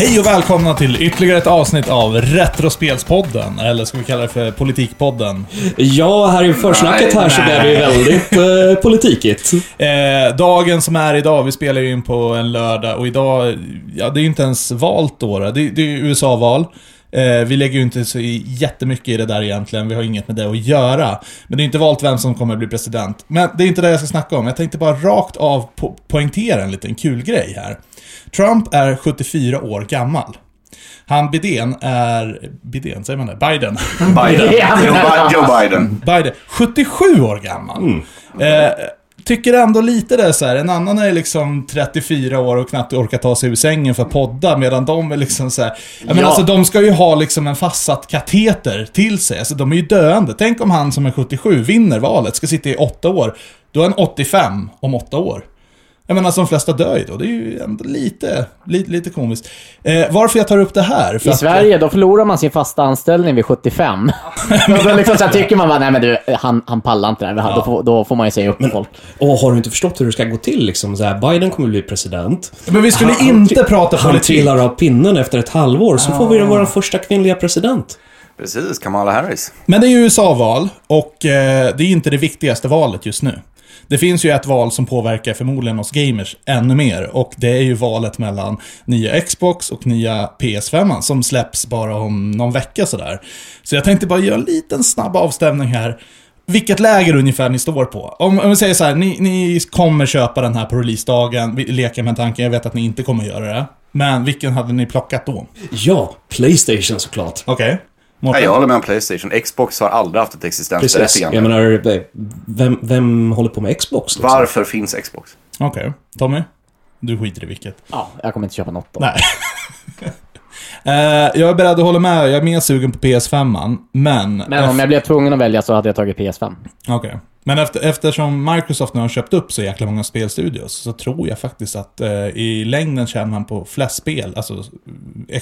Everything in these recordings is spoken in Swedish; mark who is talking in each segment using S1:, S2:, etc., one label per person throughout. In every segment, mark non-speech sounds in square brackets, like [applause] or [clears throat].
S1: Hej och välkomna till ytterligare ett avsnitt av Retrospelspodden, eller ska vi kalla det för Politikpodden.
S2: Ja, här i försnacket här så blev det ju väldigt eh, politikigt.
S1: Eh, dagen som är idag, vi spelar ju in på en lördag och idag, ja det är ju inte ens valt då. då. Det, det är ju USA-val. Eh, vi lägger ju inte så i- jättemycket i det där egentligen, vi har inget med det att göra. Men det är inte valt vem som kommer bli president. Men det är inte det jag ska snacka om, jag tänkte bara rakt av po- poängtera en liten kul grej här. Trump är 74 år gammal. Han Biden är... Biden, säger man det? Biden. [laughs]
S3: Biden. Joe, Bi- Joe Biden.
S1: Biden, 77 år gammal. Eh, tycker ändå lite det så här. en annan är liksom 34 år och knappt orkar ta sig ur sängen för att podda, medan de är liksom så här. Ja, men
S2: Ja.
S1: alltså de ska ju ha liksom en fastsatt kateter till sig, alltså de är ju döende. Tänk om han som är 77 vinner valet, ska sitta i 8 år, då är han 85 om 8 år. Jag menar, alltså, de flesta dör ju då. Det är ju ändå lite, lite, lite komiskt. Eh, varför jag tar upp det här? För
S4: I
S1: att-
S4: Sverige, då förlorar man sin fasta anställning vid 75. [laughs] Men då liksom så här tycker man bara, nej men du, han, han pallar inte det här. Då, får, då får man ju säga upp folk.
S2: [laughs] Och har du inte förstått hur det ska gå till liksom? Så här, Biden kommer bli president.
S1: Men vi skulle inte prata
S2: Han
S1: politik.
S2: trillar av pinnen efter ett halvår, så får vi vår första kvinnliga president.
S3: Precis, Kamala Harris.
S1: Men det är ju USA-val och eh, det är ju inte det viktigaste valet just nu. Det finns ju ett val som påverkar förmodligen oss gamers ännu mer och det är ju valet mellan nya Xbox och nya PS5 som släpps bara om någon vecka sådär. Så jag tänkte bara göra en liten snabb avstämning här. Vilket läger ungefär ni står på. Om, om vi säger så här, ni, ni kommer köpa den här på releasedagen, vi leker med tanken, jag vet att ni inte kommer göra det. Men vilken hade ni plockat då?
S2: Ja, Playstation såklart.
S1: Okej?
S3: Nej,
S1: Mårten?
S3: jag håller med om Playstation. Xbox har aldrig haft ett
S2: Precis. Jag
S3: existensberättigande.
S2: menar, eh, vem, vem håller på med Xbox? Liksom?
S3: Varför finns Xbox?
S1: Okej. Tommy? Du skiter i vilket.
S4: Ja, jag kommer inte köpa något då.
S1: Nej. Eh, jag är beredd att hålla med, jag är mer sugen på PS5, men...
S4: Men om jag blev tvungen att välja så hade jag tagit PS5.
S1: Okej. Men efter, eftersom Microsoft nu har köpt upp så jäkla många spelstudios så tror jag faktiskt att eh, i längden tjänar man på flest spel, alltså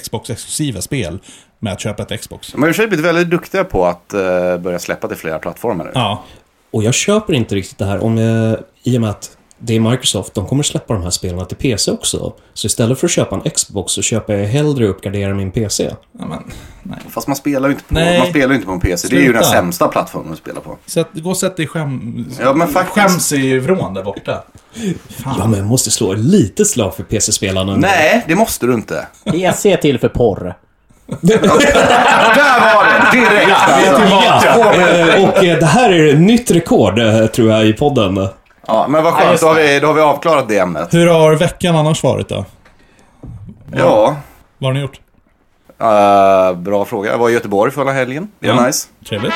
S1: Xbox-exklusiva spel, med att köpa ett Xbox.
S3: De har i och för sig blivit väldigt duktiga på att eh, börja släppa till flera plattformar nu.
S1: Ja,
S2: Och jag köper inte riktigt det här om, eh, i och med att det är Microsoft, de kommer släppa de här spelen till PC också. Så istället för att köpa en Xbox så köper jag hellre och uppgraderar min PC.
S1: ja men, nej.
S3: Fast man spelar ju inte på,
S1: Nej.
S3: man spelar ju inte på en PC. Det är ju
S1: Sluta.
S3: den sämsta plattformen att spela på.
S1: Så att, gå och sätt dig skäm...
S3: Ja, men faktiskt.
S1: Skäms i vrån där borta.
S2: Ja, men jag måste slå lite slag för PC-spelarna. nu.
S3: Nej, det måste du inte.
S4: PC är till för porr.
S3: Där var det! [laughs] Direkt alltså.
S2: Ja, eh, och eh, det här är ett nytt rekord, eh, tror jag, i podden.
S3: Ja, men vad skönt, då har, vi, då har vi avklarat det ämnet.
S1: Hur har veckan annars varit då?
S3: Ja,
S1: Vad har ni gjort?
S3: eh, bra fråga. Jag var i Göteborg förra helgen. Det var
S1: Ja.
S3: nice.
S1: Trevligt?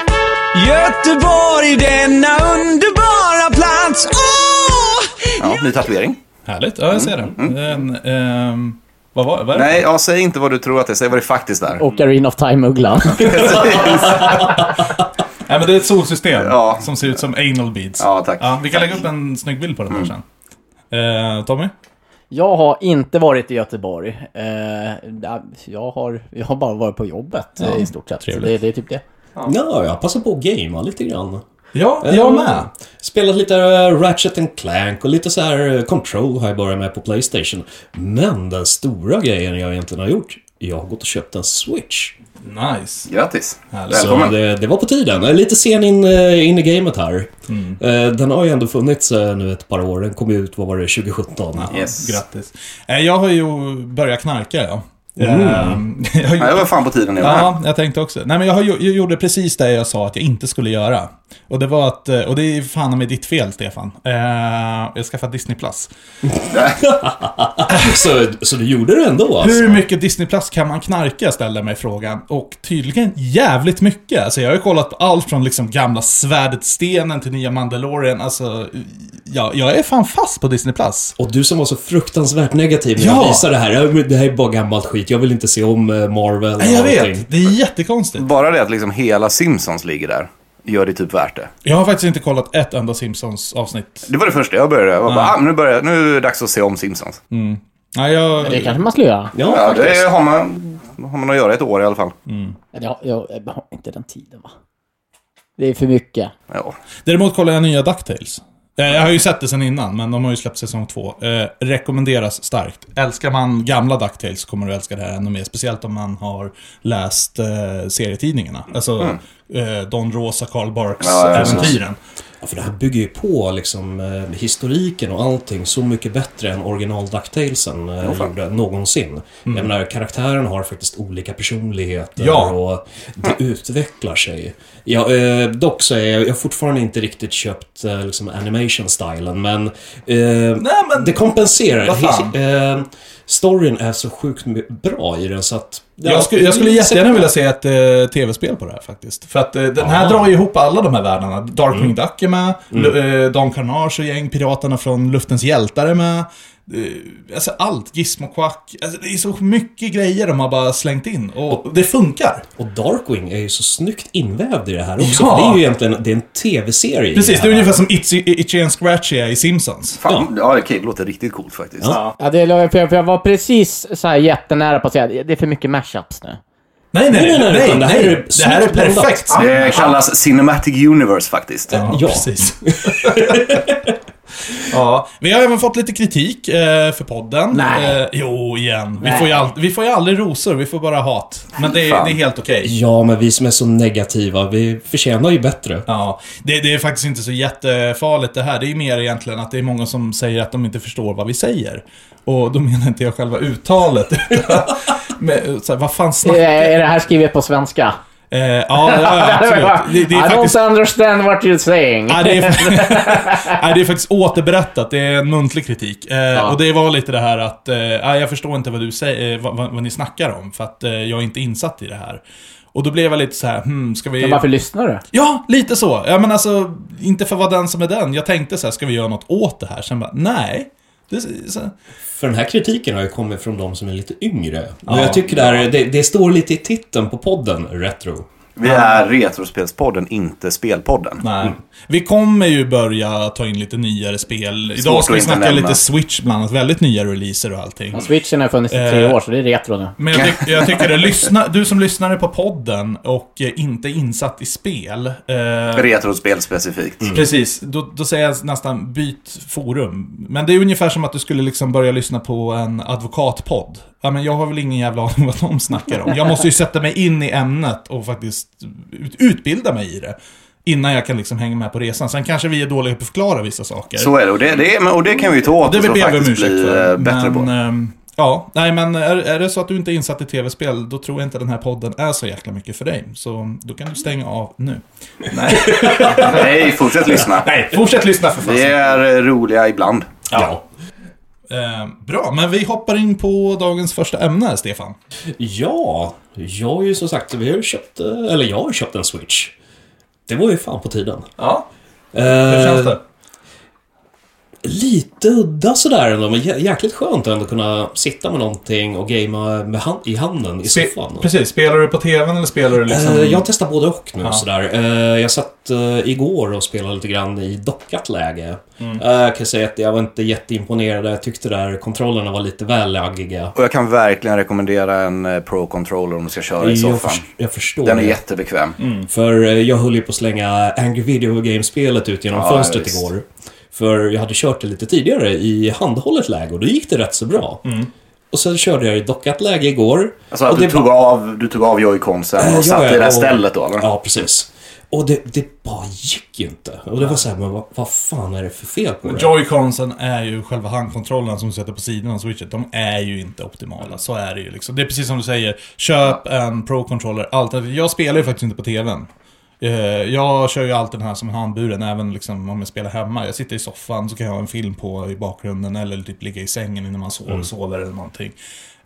S5: Göteborg, denna underbara plats. Åh!
S3: Ja, ny tatuering.
S1: Härligt, ja jag ser det. En, ehm, vad var vad är det?
S3: Mm. Nej, ja, säg inte vad du tror att det är. Säg vad det faktiskt är.
S4: Ocarina of Time-ugglan.
S1: Nej men det är ett solsystem
S3: Ja.
S1: som ser ut som anal beads.
S3: Ja, tack. Mm.
S1: vi kan lägga upp en snygg bild på den här sen. Eh, Tommy?
S4: Jag har inte varit i Göteborg. Eh, jag, har, jag har bara varit på jobbet eh, i stort sett. Så
S1: trevligt.
S4: Det, det är typ det.
S2: Ja, jag passar på att gamea lite grann.
S1: Ja,
S2: Eh, Spelat lite eh, Ratchet and Clank och lite så här eh, Control har jag börjat med på Playstation. Men den stora grejen jag egentligen har gjort, jag har gått och köpt en Switch.
S1: Nice.
S3: Grattis.
S1: Härligt.
S2: Så
S3: Välkommen.
S2: det, det var på tiden. Jag är Lite sen in, eh, in i gamet här. Eh, Den har ju ändå funnits eh, nu ett par år. Den kom ju ut, vad var det, 2017?
S3: Yes.
S1: Grattis. Eh, jag har ju börjat knarka ja. Ehm, [laughs] jag har
S3: Mm. Ja,
S1: gjort-
S3: det var fan på tiden jag var här.
S1: Ja, jag tänkte också. Nej, men jag, har, ju- jag gjorde precis det jag sa att jag inte skulle göra. Och det var att, eh, och det är fan med ditt fel, Stefan. Eh, jag skaffade Disney Plus.
S2: Så, så du gjorde det ändå alltså?
S1: Hur mycket Disney Plus kan man knarka, ställer jag mig frågan. Och tydligen jävligt mycket. Alltså jag har ju kollat på allt från liksom gamla Svärdet Stenen till nya Mandalorian. Alltså, ja, jag är fan fast på Disney Plus.
S2: Och du som var så fruktansvärt negativ när
S1: Ja!
S2: jag visade det här. "Ja, men Det här är bara gammalt skit. Jag vill inte se om eh, Marvel och
S1: Nej, jag
S2: allting."
S1: vet. Det är jättekonstigt.
S3: Bara det att liksom hela Simpsons ligger där gör det typ värt det.
S1: Jag har faktiskt inte kollat ett enda Simpsons-avsnitt.
S3: Det var det första jag började. Jag var bara, ah, men nu, börjar, nu är det dags att se om Simpsons.
S1: Nej, jag...
S4: Det kanske man skulle göra.
S2: Ja,
S3: Ja,
S2: faktiskt.
S3: det har man, har man att göra i ett år i alla fall.
S4: Eller jag, jag, jag har inte den tiden va? Det är för mycket.
S3: Ja.
S1: Däremot kollar jag nya DuckTales. Eh, Jag har ju sett det sen innan, men de har ju släppt säsong två. Eh, rekommenderas starkt. Älskar man gamla DuckTales så kommer du älska det här ännu mer. Speciellt om man har läst eh, serietidningarna. Alltså eh, Don Rosa, Carl
S3: Mm. Ja, ja,
S1: Barks-äventyren.
S2: Ja, för det här bygger ju på liksom, eh, historiken och allting så mycket bättre än original DuckTalesen eh, gjorde någonsin. Jag menar, karaktären har faktiskt olika personligheter
S1: Mm. Ja.
S2: och det utvecklar sig. Ja, eh, dock så är jag, jag har fortfarande inte riktigt köpt eh, liksom animation-stilen, men, eh,
S1: Nej, men-
S2: det kompenserar.
S1: Vad fan?
S2: His- eh, storyn är så sjukt my- bra i den så att... ja,
S1: Jag, skulle, jag skulle
S2: det-
S1: jättegärna vilja se ett eh, tv-spel på det här faktiskt. För att eh, den här
S2: Ah.
S1: drar ju ihop alla de här världarna. Darkwing Duck är med, Lu- eh, Don Carnage och gäng, Piraterna från Luftens Hjältar är med. Eh, alltså allt, Gizmo Quack. Alltså, det är så mycket grejer de har bara slängt in. Och det funkar.
S2: Och Darkwing är ju så snyggt invävd i det här också.
S1: Ja.
S2: För det är ju egentligen det är en TV-serie. i
S1: Precis, det
S2: här.
S1: är ungefär som Itchy, Itchy and Scratchy är i Simpsons.
S3: Fan, ja. okej, det låter riktigt coolt faktiskt.
S2: Ja.
S4: Ja, det, la- för jag, för jag var precis så här jättenära på att säga det är för mycket
S1: [laughs]
S4: mashups nu.
S1: Nej, nej, nej.
S2: Nej,
S1: nej,
S2: nej, nej, utan
S1: det, här Är, det här är
S2: snyggt blandat.
S1: perfekt.
S3: Det kallas Cinematic Universe faktiskt.
S1: Ja,
S2: Ja.
S1: precis. ja. Vi har även fått lite kritik eh, för podden.
S4: Nej.
S1: Eh, jo, igen. Vi får, ju all, vi får ju aldrig rosor, vi får bara hat. Men det är,
S3: Fan.
S1: det är helt okej.
S2: Ja, men vi som är så negativa, vi förtjänar ju bättre.
S1: Ja, det, det är faktiskt inte så jättefarligt det här. Det är ju mer egentligen att det är många som säger att de inte förstår vad vi säger. Och då menar inte jag själva uttalet. [laughs] utan med, så här, vad fan
S4: Eh,
S1: snackar...
S4: Är det här skrivet på svenska?
S1: Eh, ja, ja, ja,
S4: [laughs]
S1: absolut. Det, det
S4: I
S1: är faktiskt
S4: don't understand what you're saying.
S1: Nej, det, är, [laughs] nej, det är faktiskt återberättat. Det är en muntlig kritik. Eh, Och det var lite det här att, eh, "Ah, jag förstår inte vad du säger, eh, vad, vad, vad ni snackar om, för att eh, jag är inte insatt i det här. Och då blev jag lite så här, hmm, ska vi...
S4: Men varför lyssnar du?
S1: Ja, lite så. Ja, men alltså, inte för vad den som är den. Jag tänkte så här, ska vi göra något åt det här? Sen bara, nej. Det, är så,
S2: För den här kritiken har ju kommit från de som är lite yngre. Och jag tycker det, här, det, det står lite i titeln på podden, Retro.
S3: Vi är Retrospelspodden, inte Spelpodden.
S1: nej. Mm. Vi kommer ju börja ta in lite nyare spel. Idag
S3: att
S1: ska vi
S3: inte
S1: snacka
S3: nämna.
S1: lite Switch bland annat. Väldigt nya releaser och allting.
S4: Ja, Switchen har funnits i
S1: Eh.
S4: tre år, så det är retro nu.
S1: Men jag, ty- jag tycker det, lyssna, du som lyssnare på podden och eh, inte insatt i spel.
S3: Mm.
S1: Eh,
S3: Retrospel specifikt.
S1: Mm. Precis, då, då säger jag nästan byt forum. Men det är ungefär som att du skulle liksom börja lyssna på en advokatpodd. Ja, men jag har väl ingen jävla [laughs] aning vad de snackar om. Jag måste ju sätta mig in i ämnet och faktiskt ut- utbilda mig i det. Innan jag kan liksom hänga med på resan. Sen kanske vi är dåliga på att förklara vissa saker.
S3: Så är det, och det, det, är- men- och det kan vi ju ta åt
S1: Det
S3: oss
S1: vill
S3: och
S1: jag be om
S3: faktiskt
S1: ursäkt
S3: bli
S1: för.
S3: eh, bättre
S1: men,
S3: på.
S1: ehm, Ja, nej men är, är det så att du inte är insatt i tv-spel, då tror jag inte den här podden är så jäkla mycket för dig. Så då kan du stänga av nu.
S3: Nej, Nej fortsätt lyssna.
S1: eh, [laughs] Nej, fortsätt lyssna för fan.
S3: Vi är eh, roliga ibland.
S2: Ja.
S1: Eh, bra, men vi hoppar in på dagens första ämne, Stefan.
S2: Ja, jag har ju som sagt, vi har ju köpt, eh, eller jag har köpt en Switch. Det var ju fan på tiden.
S1: Ja,
S2: Eh,
S1: hur känns det?
S2: Lite udda sådär ändå, men jä- jäkligt skönt att ändå kunna sitta med någonting och gamea med han- i handen i
S1: Spe-
S2: soffan.
S1: precis, spelar du på tvn eller spelar du liksom...
S2: Eh, Jag testar både och nu
S1: Ja.
S2: sådär. Eh, Jag satt eh, igår och spelade lite grann i dockat läge. Eh, Jag kan säga att jag var inte jätteimponerad. Jag tyckte där kontrollerna var lite väl laggiga.
S3: Och jag kan verkligen rekommendera en eh, Pro Controller om du ska köra i
S2: Jag,
S3: soffan.
S2: förs- jag förstår
S3: Den är
S2: det.
S3: jättebekväm.
S2: För eh, jag höll ju på att slänga Angry Video Game-spelet ut genom
S3: Ja,
S2: fönstret
S3: visst.
S2: igår. För jag hade kört det lite tidigare i handhållet läge och då gick det rätt så bra. Och sen körde jag i dockat läge igår.
S3: Alltså
S2: och
S3: att du
S2: det
S3: tog,
S2: var-
S3: av, du tog av joyconsen
S2: Ja,
S3: och satte Eh, i det här
S2: och-
S3: stället då eller?
S2: Ja, precis. Och det, det bara gick ju inte. Och det var såhär, men vad, vad fan är det för fel på det?
S1: Joy-Consen är ju själva handkontrollen som du sätter på sidan av switchen. De är ju inte optimala, så är det ju liksom. Det är precis som du säger, köp en Pro-controller. Alternativt, jag spelar ju faktiskt inte på TVn. Eh, Jag kör ju alltid den här som en handburen, även liksom om jag spelar hemma. Jag sitter i soffan så kan jag ha en film på i bakgrunden eller typ ligga i sängen innan man sover,
S2: Mm.
S1: sover eller någonting.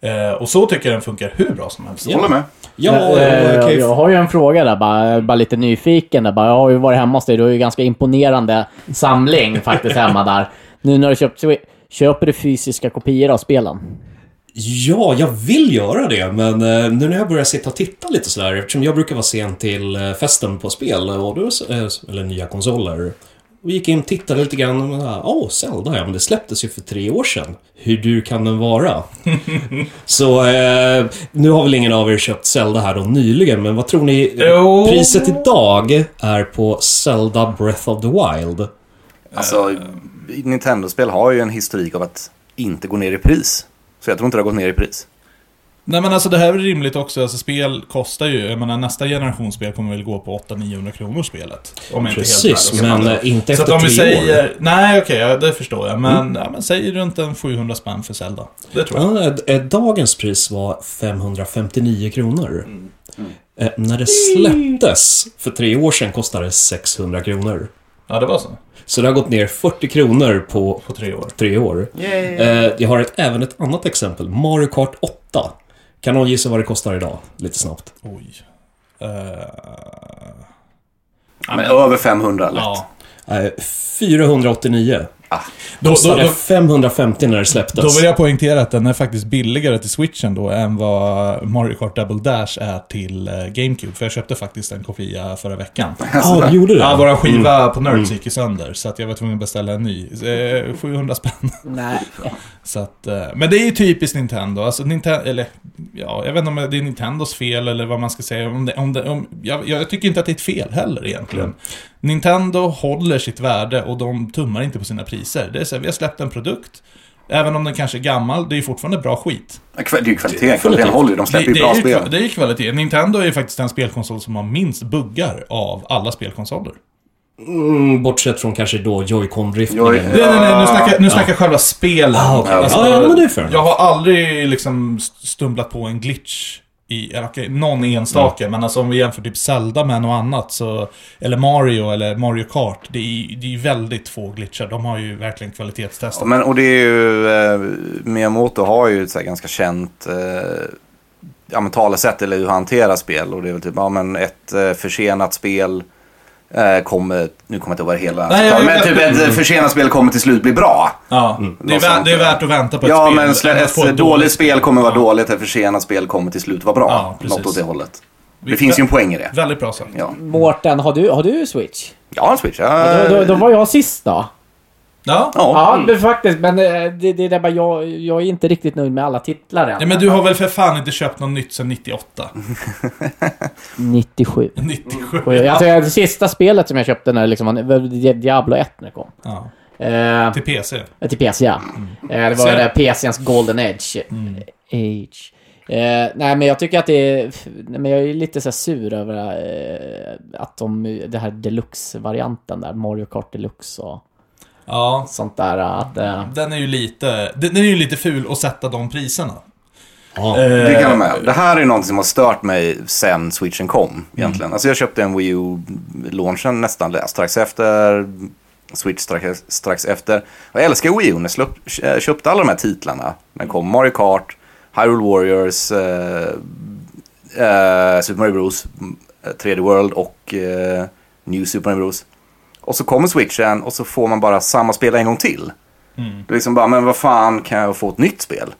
S1: Eh, Och så tycker jag den funkar hur bra som helst.
S3: Håller med.
S2: Ja,
S4: Eh,
S2: jag kan ju-
S4: Jag har ju en fråga där, bara, bara lite nyfiken. Där, bara, jag har ju varit hemma hos dig, du har ju ganska imponerande samling faktiskt
S1: [laughs]
S4: hemma där. Nu när du köpt Swi- Köper du fysiska kopior av spelen?
S2: Ja, jag vill göra det, men eh, nu när jag börjar sitta och titta lite sådär, eftersom jag brukar vara sen till eh, festen på spel, och då, eh, eller nya konsoler, och gick in och tittade lite grann och bara, åh, Zelda ja, men det släpptes ju för tre år sedan. Hur dyr kan
S1: [laughs]
S2: den vara? Så, eh, nu har väl ingen av er köpt Zelda här då nyligen, men vad tror ni eh,
S1: Jo.
S2: priset idag är på Zelda Breath of the Wild?
S3: Alltså, Nintendo-spel har ju en historik av att inte gå ner i pris. Så jag tror inte det har gått ner i pris.
S1: Nej men alltså det här är rimligt också, alltså spel kostar ju, jag menar nästa generation spel kommer väl gå på 800-900 kronor spelet. Om jag
S2: Precis,
S1: inte är helt
S2: men
S1: värdelös.
S2: eh, inte
S1: Så
S2: efter
S1: att om
S2: tre
S1: vi
S2: år. Mm.
S1: säger, nej okej, ja, det förstår jag, men, ja, men säg runt en 700 spänn för Zelda. Det tror jag.
S2: Ja, eh, eh, dagens pris var 559 kronor. Eh, när det släpptes för tre år sedan kostade det 600 kronor.
S1: Ja, det var så.
S2: Så det har gått ner 40 kronor på
S1: På tre år.
S2: tre år. Eh, jag har ett, även ett annat exempel. Mario Kart 8. Kan någon gissa vad det kostar idag? Lite snabbt.
S1: Oj. Eh,
S3: Men över 500 lätt.
S1: ja.
S2: Eh, 489.
S1: Då, då,
S2: Kostade
S1: då,
S2: 550 när det släpptes.
S1: då vill jag poängtera att den är faktiskt billigare till switchen då än vad Mario Kart Double Dash är till eh, GameCube. För jag köpte faktiskt en kopia förra veckan.
S2: Ja, Mm. du gjorde det?
S1: Ja, våra skiva på Nerds gick ju sönder, så att jag var tvungen att beställa en ny. Eh, 700 spänn.
S4: Nej.
S1: Så att, eh, men det är ju typiskt Nintendo. Alltså, Nintendo eller, ja, jag vet inte om det är Nintendos fel eller vad man ska säga. Om det, om det, om, jag, jag tycker inte att det är ett fel heller egentligen.
S3: Mm.
S1: Nintendo håller sitt värde och de tummar inte på sina priser. Det är så här, vi har släppt en produkt. Även om den kanske är gammal, det är ju fortfarande bra skit.
S3: Kva- Det är ju kvaliteten, kvaliteten håller ju. De
S1: Det,
S3: släpper
S1: det,
S3: ju bra
S1: är ju, kva-
S3: spel.
S1: det är ju kvalitet. Nintendo är ju faktiskt den spelkonsol som har minst buggar av alla spelkonsoler.
S2: Mm, bortsett från kanske då Joy-Con-driftningen.
S3: Joy-
S1: Nej, nej, nej, nu snackar, nu snackar jag själva spelet. Alltså,
S2: Ah, okej. Ja, ja, men det är fair enough.
S1: jag har aldrig liksom st- stumlat på en glitch i, eller okej, någon enstaka,
S2: Mm.
S1: men alltså om vi jämför typ Zelda med något annat så, eller Mario eller Mario Kart, det är ju det är ju väldigt få glitchar. De har ju verkligen
S3: Ja,
S1: kvalitetstestat.
S3: Men, och det är ju, eh, Miyamoto har ju ett så här ganska känt eh, ja, men talesätt eller hur han hanterar spel. Och det är väl typ, ja men ett eh, försenat spel eh, kommer, nu kommer jag inte ihåg vad det hela
S1: Nej, jag-
S3: men typ ett eh, försenat spel kommer till slut bli bra.
S1: Ja, det, är
S3: mm, Något
S1: värt,
S3: sånt,
S1: det är
S3: ja.
S1: värt att vänta på ett
S3: Ja
S1: spel.
S3: men slä,
S1: än att
S3: ett
S1: få
S3: dåligt, spel kommer vara dåligt, ett försenat spel kommer till slut vara bra.
S1: Ja, precis.
S3: Något åt det hållet. Det
S1: Vilket-
S3: finns ju en poäng i det.
S1: Väldigt bra sagt.
S3: Ja,
S4: Mårten, har du, har du Switch?
S3: jag har en switch.
S4: Då,
S3: Jag,
S4: då, då var jag sist då.
S1: Ja.
S3: ja.
S4: Ja, men faktiskt. Men eh, det, det är där bara jag, jag är inte riktigt nöjd med alla titlar än.
S1: Nej, men du har väl för fan inte köpt något nytt sedan 98?
S3: Mm.
S1: [laughs]
S4: 97.
S1: 97?
S4: Och jag- Alltså, det sista spelet som jag köpte när det liksom, var Diablo 1 när det kom.
S1: Ja.
S4: Eh,
S1: Till PC?
S4: Till PC, ja. Eh, det var
S1: Så-
S4: ju det där PCns Golden Edge. Age. Eh, nej, men jag tycker att det är... Nej, men jag är lite så här sur över eh, att de... Det här deluxe-varianten där. Mario Kart Deluxe och
S1: Ja.
S4: sånt där. Att, eh,
S1: Den är ju lite, den är ju lite ful att sätta de priserna.
S2: Ja.
S3: Det kan jag med. Det här är någonting som har stört mig sen switchen kom egentligen. Alltså jag köpte en Wii U-launchen nästan strax efter. Switch strax, strax efter. Och jag älskar Wii U. Jag slöp- eh, köpte alla de här titlarna. Den kom Mario Kart, Hyrule Warriors, eh, eh, Super Mario Bros, m- eh, 3D World och eh, New Super Mario Bros. Och så kommer switchen och så får man bara samma spel en gång till. Det är liksom bara, men vad fan kan jag få ett nytt spel?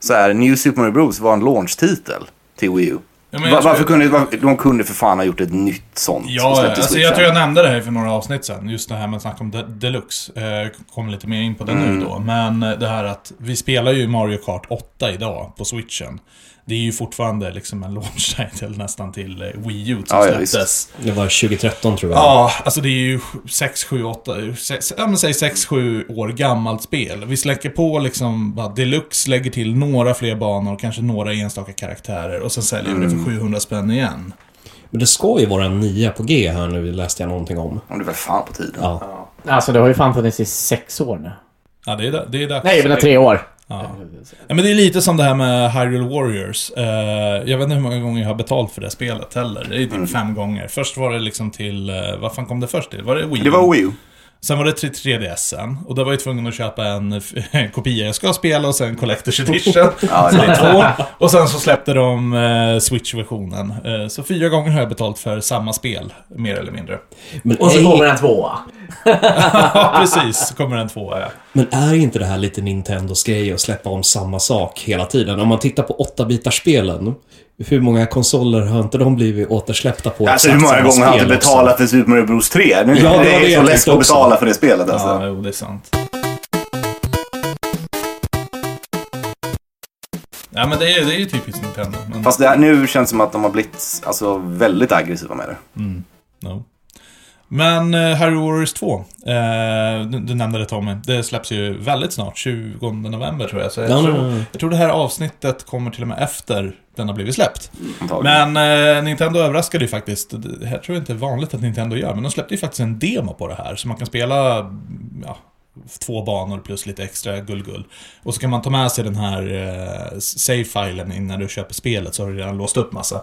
S3: så här, New Super Mario Bros var en launchtitel till Wii U.
S1: Ja, men
S3: Va-
S1: jag tror-
S3: varför kunde, var, de kunde för fan ha gjort ett nytt sånt. och
S1: Ja,
S3: släppt till
S1: alltså
S3: Switchen.
S1: jag tror jag nämnde det här för några avsnitt sen. Just det här med snack om de- deluxe. Eh, Kommer lite mer in på det
S3: Mm.
S1: nu då. Men eh, det här att vi spelar ju Mario Kart 8 idag på switchen. Det är ju fortfarande liksom en [laughs] launch title nästan till eh, Wii U som
S3: Ja, ja,
S1: släpptes.
S2: Det var 2013 tror jag.
S1: Ja, alltså det är ju 6, 7, 8, sex- ja men säg 6, 7 år gammalt spel. Vi släcker på liksom, bara deluxe lägger till några fler banor, kanske några enstaka karaktärer och sen säljer vi det för 700 spänn igen.
S2: Men det ska ju vara en 9 på G här nu, läste jag någonting om.
S3: Om det var fan på tiden.
S2: Ja.
S4: alltså, det har ju fan funnits i sex år nu.
S1: Ja, det är, da- det är dags.
S4: Nej, men det är tre år.
S1: Ja, men det är lite som det här med Hyrule Warriors. Eh, jag vet inte hur många gånger jag har betalt för det spelet heller. Det är typ fem gånger. Först var det liksom till, eh, vad fan kom det först till? Var det Wii?
S3: Det var Wii U.
S1: Sen var det till 3DSen. Och då var jag tvungen att köpa en, [laughs] en kopia jag ska spela och sen [laughs] Collector's Edition.
S3: Ja,
S1: så det är två. Och sen så släppte de eh, Switch-versionen. Eh, så fyra gånger har jag betalt för samma spel, mer eller [laughs] mindre.
S2: Men,
S4: Och så
S2: är,
S4: kommer en tvåa.
S1: ja, precis. Så kommer den tvåa, ja.
S2: men är inte det här lite Nintendos grej att släppa om samma sak hela tiden? Om man tittar på 8-bitarspelen, hur många konsoler har inte de blivit återsläppta på?
S3: Alltså hur
S2: exakt
S3: många
S2: samma
S3: gånger har
S2: spel
S3: jag inte
S2: också?
S3: betalat för Super Mario Bros 3? Nu,
S2: Ja, det var
S3: det
S2: det
S3: är
S2: jag
S3: så less
S2: tänkte
S3: att
S2: också.
S3: betala för det spelet alltså.
S1: Ja, jo, det är sant. Ja, men det är, det är ju typiskt Nintendo. Men,
S3: Fast det här, nu känns det som att de har blivit alltså, väldigt aggressiva med det.
S1: no. Men eh, Harry Warriors 2, eh, du, du nämnde det Tommy, det släpps ju väldigt snart, 20 november tror jag. Så jag,
S2: Ja,
S1: tror,
S2: ja, ja.
S1: jag tror det här avsnittet kommer till och med efter den har blivit släppt.
S3: antagligen.
S1: Men eh, Nintendo överraskade ju faktiskt. Det här tror jag inte är vanligt att Nintendo gör, men de släppte ju faktiskt en demo på det här. Så man kan spela ja, två banor plus lite extra gull-gull. Och så kan man ta med sig den här eh, save-filen innan du köper spelet, så har du redan låst upp massa.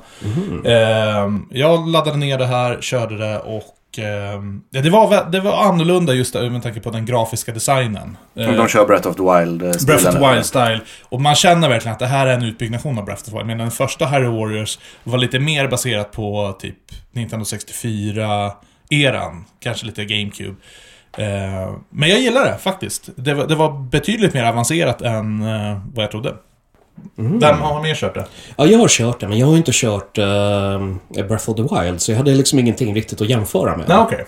S1: Ehm, jag laddade ner det här, körde det och ehm, ja, det, var, vä- det var annorlunda just där, med tanke på den grafiska designen.
S3: Om
S1: Ehm,
S3: de kör Breath of the eh, Wild-stilen.
S1: Breath of the Wild-style. Och man känner verkligen att det här är en utbyggnation av Breath of the Wild. Medan den första Harry Warriors var lite mer baserat på typ Nintendo 64-eran. Kanske lite GameCube. Eh, men jag gillar det faktiskt. Det var, det var betydligt mer avancerat än eh, vad jag trodde. Vem har mer kört det?
S2: Ja, jag har kört det, men jag har ju inte kört eh, Breath of the Wild, så jag hade liksom ingenting riktigt att jämföra med.
S1: Nej, okej.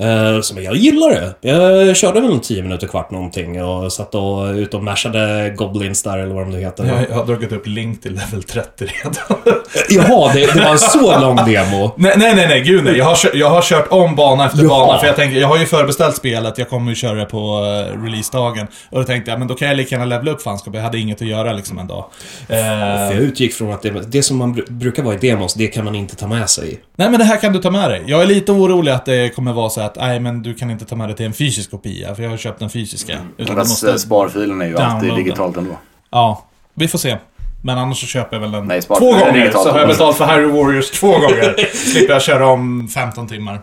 S2: Eh, så men jag gillar det. Jag körde väl en 10 minuter, kvart någonting och satt och ut och mashade goblins där, eller vad de nu heter.
S1: Jag, jag har dragit upp Link till level 30 redan. [laughs]
S2: Jaha, det, det var en så lång demo.
S1: nej, nej, nej, nej, gud nej. Jag har, kö- jag har kört om bana efter
S2: Ja.
S1: bana. För jag tänkte, jag har ju förbeställt spelet, jag kommer ju köra det på eh, releasedagen. Och då tänkte jag, men då kan jag lika gärna levela upp fanskap. Jag hade inget att göra liksom en dag. Eh,
S2: För jag utgick från att det, det som man bru- brukar vara i demos, det kan man inte ta med
S3: [laughs]
S2: sig.
S1: nej, men det här kan du ta med dig. Jag är lite orolig att det kommer vara så att, nej, men du kan inte ta med dig till en fysisk kopia. För jag har köpt den fysiska. Utan du
S3: Deras eh, sparfilen är ju alltid
S1: downloada.
S3: digitalt ändå.
S1: Ja, vi får se. Men annars så köper jag väl den
S3: Nej, spara
S1: två
S3: den
S1: gånger.
S3: digitalt.
S1: Så har jag betalt för Harry Warriors två gånger. Slipper jag köra om 15 timmar.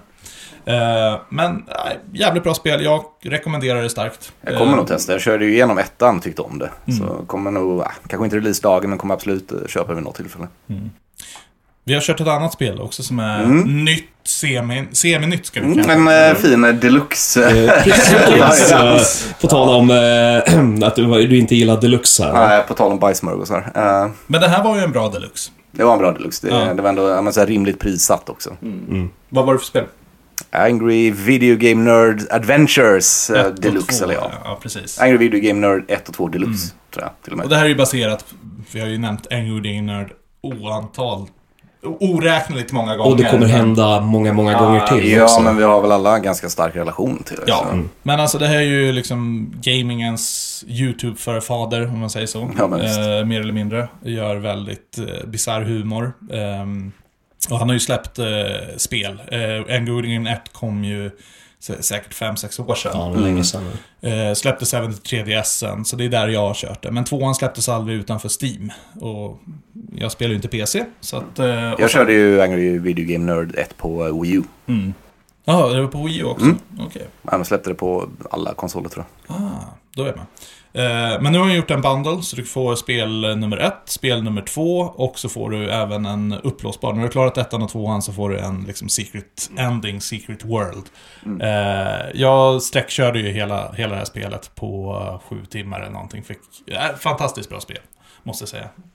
S1: Eh, men nej, jävligt bra spel. Jag rekommenderar det starkt.
S3: Jag kommer
S1: Eh, Mm.
S3: nog testa. Jag körde ju igenom ettan, tyckte om det. Så kommer nog, ah, kanske inte releasedagen, men kommer absolut eh, köpa vid något tillfälle.
S1: Vi har kört ett annat spel också som är nytt, semi, semi-nytt ska vi kalla det.
S3: En Mm. eh, fin eh, deluxe. [laughs]
S2: Eh, Precis.
S3: Ja,
S2: eh, På tal om eh, [clears throat] att du, var- du inte gillar deluxe här.
S3: Nej, på tal om bajsmörgåsar. Eh,
S1: Men det här var ju en bra deluxe.
S3: Det var en bra deluxe. Det,
S1: Ja. Mm.
S3: det var ändå ja, men, så här rimligt prissatt också.
S1: Vad var det för spel?
S3: Angry Video Game Nerd Adventures eh,
S1: Ett och två,
S3: Deluxe, eller ja.
S1: Ja, precis.
S3: Angry Video Game Nerd 1 och 2 Deluxe, tror jag till och
S1: Och
S3: med.
S1: det här är ju baserat, vi har ju nämnt Angry Video Nerd oantal, oräkneligt många gånger.
S2: Och det kommer
S1: Men-
S2: hända många, många gånger till
S3: Ja,
S2: också.
S3: men vi har väl alla en ganska stark relation till det.
S1: Ja,
S3: så.
S1: men alltså det här är ju liksom gamingens YouTube-förfader, om man säger så.
S3: Ja, men visst.
S1: eh, mer eller mindre. Gör väldigt eh, bisarr humor. Ehm, och han har ju släppt eh, spel. Eh, Angry Indian 1 kom ju sä- säkert 5-6 år sedan.
S2: Ja,
S3: Mm.
S2: det är länge sedan.
S1: Eh, släpptes även till 3DSen, så det är där jag har kört det. Men tvåan släpptes aldrig utanför Steam. Och jag spelar ju inte PC, så att... Eh,
S3: Jag
S1: och-
S3: körde ju Angry Video Game Nerd 1 på eh, Wii U.
S1: Mm. Jaha, det var på Wii U också?
S3: Mm.
S1: Okej.
S3: Ja, de släppte det på alla konsoler tror jag.
S1: Ah, då är man. Eh, men nu har jag gjort en bundle, så du får spel nummer ett, spel nummer två och så får du även en upplåsbar. När du har klarat ettan och tvåan så får du en liksom, secret ending, secret world. Eh, jag sträckkörde ju hela, hela det här spelet på eh, sju timmar eller någonting. Fick, eh, fantastiskt bra spel. Måste jag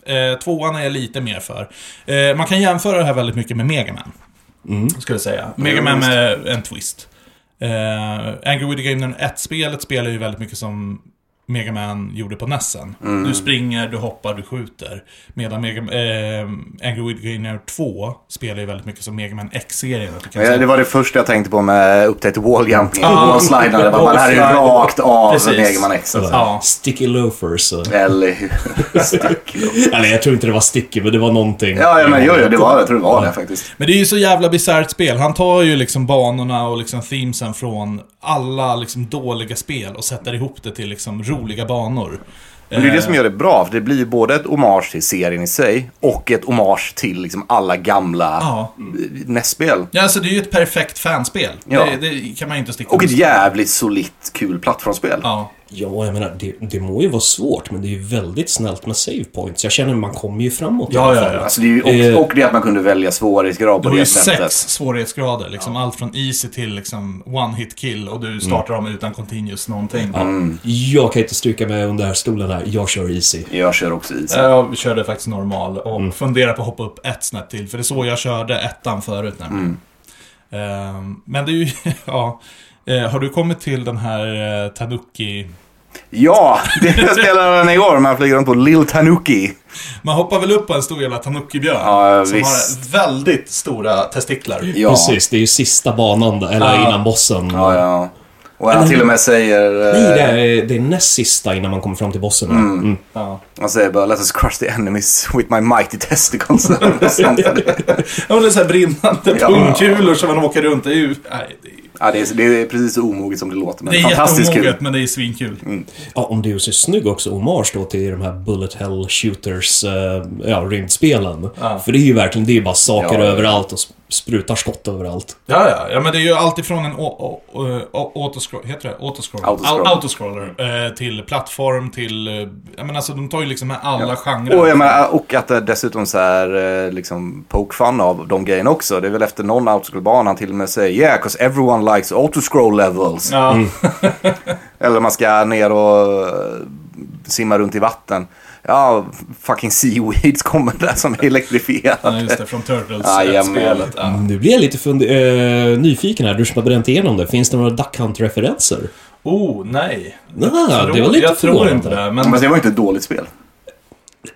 S1: säga. Eh, tvåan är jag lite mer för. Eh, man kan jämföra det här väldigt mycket med Mega Man. Skulle jag säga. Mega Man med en twist. Eh, Angry Video Game Nerd 1-spelet spelar ju väldigt mycket som Mega Man gjorde på Nessen.
S3: Mm.
S1: Du springer, du hoppar, du skjuter. Medan Mega, eh, Angry Video Game Nerd 2 spelar ju väldigt mycket som Mega Man X-serien. att du kan
S3: Ja,
S1: säga-
S3: Eh, det var det första jag tänkte på med Upptäckte Wall Jumping.
S1: Ja.
S3: Wall Sliding. Det bara, det här är ju
S1: Wall
S3: rakt av
S1: Precis.
S3: Egerman X. Alltså.
S1: Ja.
S2: Sticky loafers.
S3: [laughs]
S2: eh.
S3: Eller hur?
S2: Eller jag tror inte det var sticky, men det var någonting.
S3: Ja, ja, men jo, jo, det var, jag tror det var det faktiskt.
S1: Men det är ju så jävla bisarrt spel. Han tar ju liksom banorna och liksom themesen från alla liksom dåliga spel och sätter ihop det till liksom roliga banor. Eh,
S3: Men det är det som gör det bra, för det blir ju både ett hommage till serien i sig och ett hommage till liksom alla gamla
S1: Ja.
S3: eh, NES-spel.
S1: Ja, alltså det är ju ett perfekt fanspel.
S3: Ja.
S1: Det, det kan man ju inte sticka
S3: Och ett
S1: under-
S3: jävligt solitt, kul plattformsspel.
S1: Ja.
S2: Ja, jag menar, det, det må ju vara svårt, men det är ju väldigt snällt med save points. Jag känner att man kommer ju framåt. i
S1: Ja,
S2: alla
S1: ja,
S2: fall.
S1: ja.
S3: Alltså det är ju, och, och det att man kunde välja svårighetsgrad
S1: Du
S3: på
S1: har ju
S3: det
S1: sex
S3: sättet.
S1: svårighetsgrader. Liksom Allt från easy till liksom one-hit kill och du startar
S3: Mm.
S1: dem utan continuous någonting.
S2: Mm. Jag kan inte stryka mig under här stolen här. Jag kör easy.
S3: Jag kör också i.
S1: Jag körde faktiskt normal och
S3: Mm.
S1: funderar på att hoppa upp ett snett till. För det är så jag körde ettan förut nämligen.
S3: Mm.
S1: [laughs] Ehm, men det är ju, ja. Eh, har du kommit till den här eh, Tanuki...
S3: Ja, [laughs] det spelade den igår. Man flyger runt på Lil Tanuki.
S1: Man hoppar väl upp på en stor jävla tanuki-björn.
S3: Ja,
S1: som
S3: visst.
S1: har väldigt stora testiklar.
S3: Ja.
S2: Precis, det är ju sista banan, där, eller
S1: Ja.
S2: innan bossen.
S3: Ja, ja. Och han
S2: Eller-
S3: till och med säger...
S2: Nej,
S3: eh,
S2: det är, det är näst sista innan man kommer fram till bossen. Mm.
S1: Ja.
S3: Han säger bara “Let us crush the enemies with my mighty
S2: [laughs]
S3: testicles” eller sånt.
S1: Ja, men det är så här brinnande
S3: Ja.
S1: pungkulor som man åker runt i. Nej, det är,
S3: ja, det, är, det är precis så omoget som det låter, men
S1: det är
S3: fantastiskt kul.
S1: jätteomoget, men det är svinkul.
S2: Ja, om du är så snygg också, hommage då till de här Bullet Hell Shooters, eh, ja, rymdspelen. För det är ju verkligen, det är ju bara saker
S3: Ja.
S2: överallt och sp- sprutar skott överallt.
S1: Ja, ja, ja, men det är ju alltifrån en å- å- å- å- autoscroll, heter det? Autoscroller.
S3: Autoscroll.
S1: Au- autoscroller. Eh, till plattform, till... eh, Ja, men alltså de tar ju liksom med alla genrer.
S3: Och, jag menar, och att det dessutom så här, eh, liksom poke fun av de grejerna också. Det är väl efter någon autoscrollbana han till och med säger “Yeah, 'cause everyone likes autoscroll levels”.
S1: Ja.
S3: Eller man ska ner och eh, simma runt i vatten. Ja, fucking seaweeds kommer där som är elektrifierad.
S1: ja, just det. Från Turtles.
S3: Ja,
S1: eh,
S3: jajamän.
S1: spelet. Ja.
S2: Nu blir jag lite fund- eh, nyfiken här, du som har bränt igenom det. Finns det några Duck Hunt-referenser?
S1: Oh, nej.
S2: Nej, det var lite
S1: Jag tror
S2: förvånande.
S1: inte det, men...
S3: Men det var inte ett dåligt spel.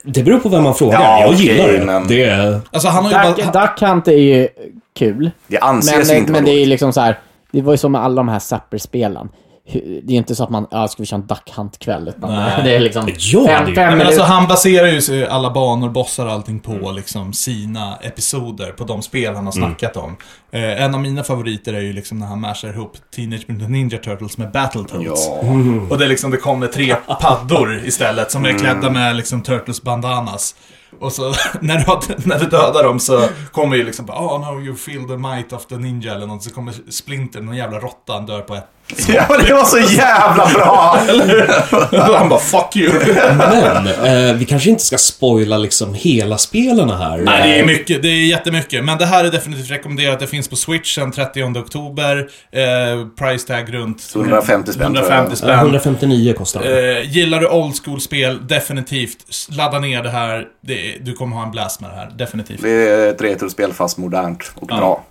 S2: Det beror på vem man frågar.
S3: Ja,
S2: jag
S3: okej,
S2: gillar det.
S3: men-
S2: det är...
S1: Alltså han har ju bara...
S4: Duck, Duck Hunt är ju kul.
S3: Det anses
S4: Men,
S3: inte vara
S4: men det är
S3: dåligt.
S4: ju liksom så här. Det var ju som med alla de här Zapper-spelen. Hu- Det är ju inte så att man, ja, ska vi köra en Duck Hunt-kväll? utan
S1: Nej.
S4: Det är liksom
S2: Ja, det är ju-
S4: fem,
S1: Nej,
S4: fem
S1: men
S4: minuter.
S1: alltså, han baserar ju sig- alla banor, bossar och allting på liksom, sina episoder, på de spel han har snackat om. Eh, en av mina favoriter är ju liksom när han mashar ihop Teenage Mutant Ninja Turtles med Battletoads.
S3: Ja.
S1: Och det, är liksom, det kommer tre paddor istället som är klädda med liksom, Turtles bandanas. Och så [laughs] när du, när du dödar dem så kommer ju liksom bara oh, no you feel the might of the ninja eller något. Så kommer Splinter, någon jävla råtta, han dör på ett.
S3: Ja, men [laughs] det var så jävla bra!
S1: [laughs] han bara fuck you.
S2: Men eh, vi kanske inte ska spoila liksom hela spelen här. Eh,
S1: Nej,
S3: Eh,
S1: det är mycket. Det är jättemycket. Men det här är definitivt rekommenderat. Det finns på Switch sen 30 oktober. Eh, price tag runt...
S3: 150 spänn, tror jag.
S1: 150
S2: Eh,
S1: spänn.
S2: 159 kostar det.
S1: Eh, gillar du old school-spel, definitivt. s- Ladda ner det här. Det, är- du kommer ha en blast med det här, definitivt.
S3: Det är ett retrospel fast modernt och bra.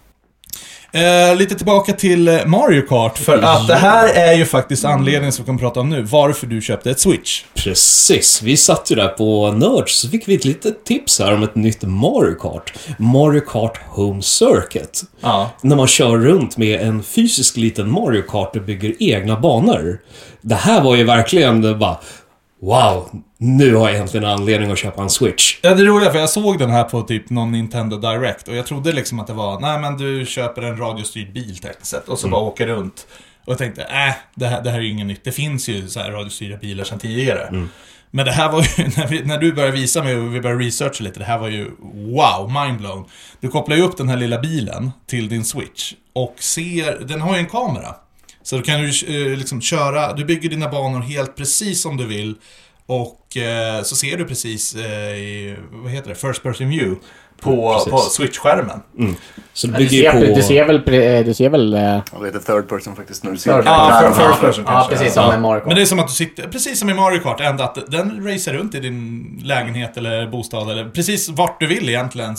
S1: Eh, lite tillbaka till eh, Mario Kart, för att det här är ju faktiskt anledningen som vi kommer prata om nu. Varför du köpte ett Switch.
S2: Precis, vi satt ju där på Nerds så fick vi ett litet tips här om ett nytt Mario Kart. Mario Kart Home Circuit.
S1: Ja.
S2: När man kör runt med en fysisk liten Mario Kart och bygger egna banor. Det här var ju verkligen det bara Wow, nu har jag äntligen anledning att köpa en Switch.
S1: Ja, det roliga för jag såg den här på typ någon Nintendo Direct och jag trodde liksom att det var, nej men du köper en radiostyrd bil tekniskt sett och så bara åker runt. Och jag tänkte, äh, det här, det här är ju inget nytt. Det finns ju så här radiostyrda bilar sedan tidigare. Men det här var ju, [laughs] när, vi, när du började visa mig och vi började researcha lite, det här var ju wow, mindblown. Du kopplar ju upp den här lilla bilen till din switch och ser, den har ju en kamera. Så då kan du eh, liksom köra, du bygger dina banor helt precis som du vill. Och eh, så ser du precis eh, i, vad heter det, First Person View på,
S2: Precis.
S1: på Switch-skärmen.
S2: Så det
S4: Du
S2: bygger ju
S4: ser,
S2: på...
S4: du ser väl... pre- Du ser väl eh,
S3: Vad heter third person faktiskt nu? Du ser
S4: Third
S3: det.
S4: person.
S1: Ja,
S3: Där
S1: för,
S3: och fram.
S1: first person
S4: Ja,
S1: kanske.
S4: precis som med Mario Kart.
S1: Men det är som att du sitter, precis som i Mario Kart, ändå att den racer runt i din lägenhet eller bostad eller precis vart du vill egentligen.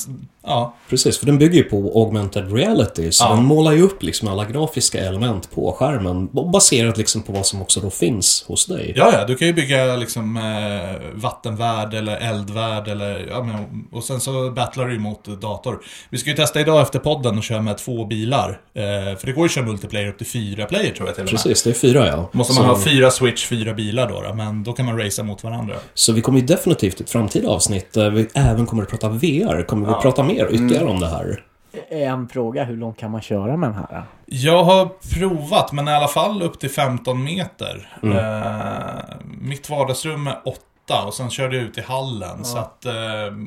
S1: Ja,
S2: Precis, för den bygger ju på augmented reality. Så den målar ju upp liksom alla grafiska element på skärmen. Baserat liksom på vad som också då finns hos dig.
S1: ja, ja du kan ju bygga liksom eh, vattenvärld eller eldvärld eller, ja men, och sen så battlar du ju mot dator. Vi ska ju testa idag efter podden och köra med två bilar. Eh, för det går ju att köra multiplayer upp till fyra player tror jag till och med.
S2: Precis, det är fyra ja.
S1: Måste
S2: så,
S1: man ha fyra switch, fyra bilar då, då men då kan man racea mot varandra.
S2: så vi kommer ju definitivt i ett framtida avsnitt där vi även kommer att prata VR. Kommer vi prata mer
S1: Mm.
S2: ytterligare om det här?
S4: En fråga, hur långt kan man köra med den här?
S1: Jag har provat, men i alla fall upp till 15 meter. Eh, mitt vardagsrum är 8 och sen körde jag ut i hallen. Så att, eh,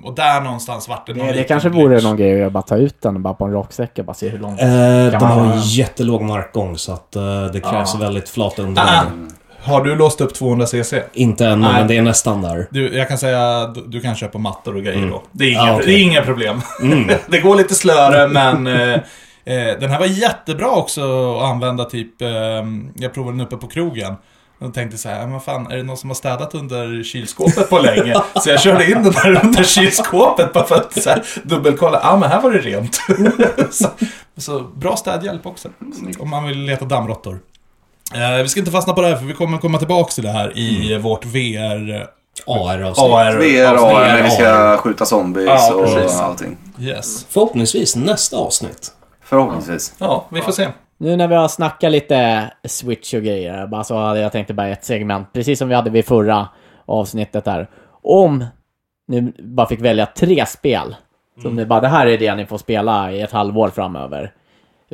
S1: och där någonstans vart det någon
S4: Det, det
S1: liten
S4: kanske vore
S1: glitch.
S4: någon grej att göra, bara ta ut den och bara på en raksträcka bara se hur långt.
S2: Eh, de
S4: man
S2: har en
S4: ha-
S2: jättelåg markgång så att eh, det krävs väldigt flat underlag.
S1: Ah, har du låst upp 200 cc?
S2: Inte ännu,
S1: Nej.
S2: men det är nästan där.
S1: Du, jag kan säga du, du kan köpa mattor och grejer då. Det är inga,
S2: Ah, okej. Mm.
S1: det är inga problem. [laughs] det går lite slöare, men eh, eh, den här var jättebra också att använda typ, eh, jag provade den uppe på krogen. Och tänkte så här, "Ja, men fan, är det någon som har städat under kylskåpet på
S2: [laughs]
S1: länge? Så jag körde in den här under kylskåpet bara för att så här, dubbelkolla. Ja, ah, men här var det rent. [laughs]
S2: Mm,
S1: så, så bra städhjälp också. Om man vill leta dammråttor. Eh, vi ska inte fastna på det här, för vi kommer komma tillbaka till det här i
S2: Mm.
S1: vårt VR...
S2: AR-avsnitt.
S1: AR.
S3: VR, AR, när vi
S2: AR.
S3: ska skjuta zombies
S1: Ja, precis.
S3: och allting.
S1: Yes.
S2: Förhoppningsvis nästa avsnitt.
S3: Förhoppningsvis.
S1: Ja, vi får se.
S4: Nu när vi har snackat lite Switch och grejer här, bara så hade jag tänkt bara ett segment, precis som vi hade vid förra avsnittet där. Om ni bara fick välja tre spel, som ni bara, det här är det ni får spela i ett halvår framöver.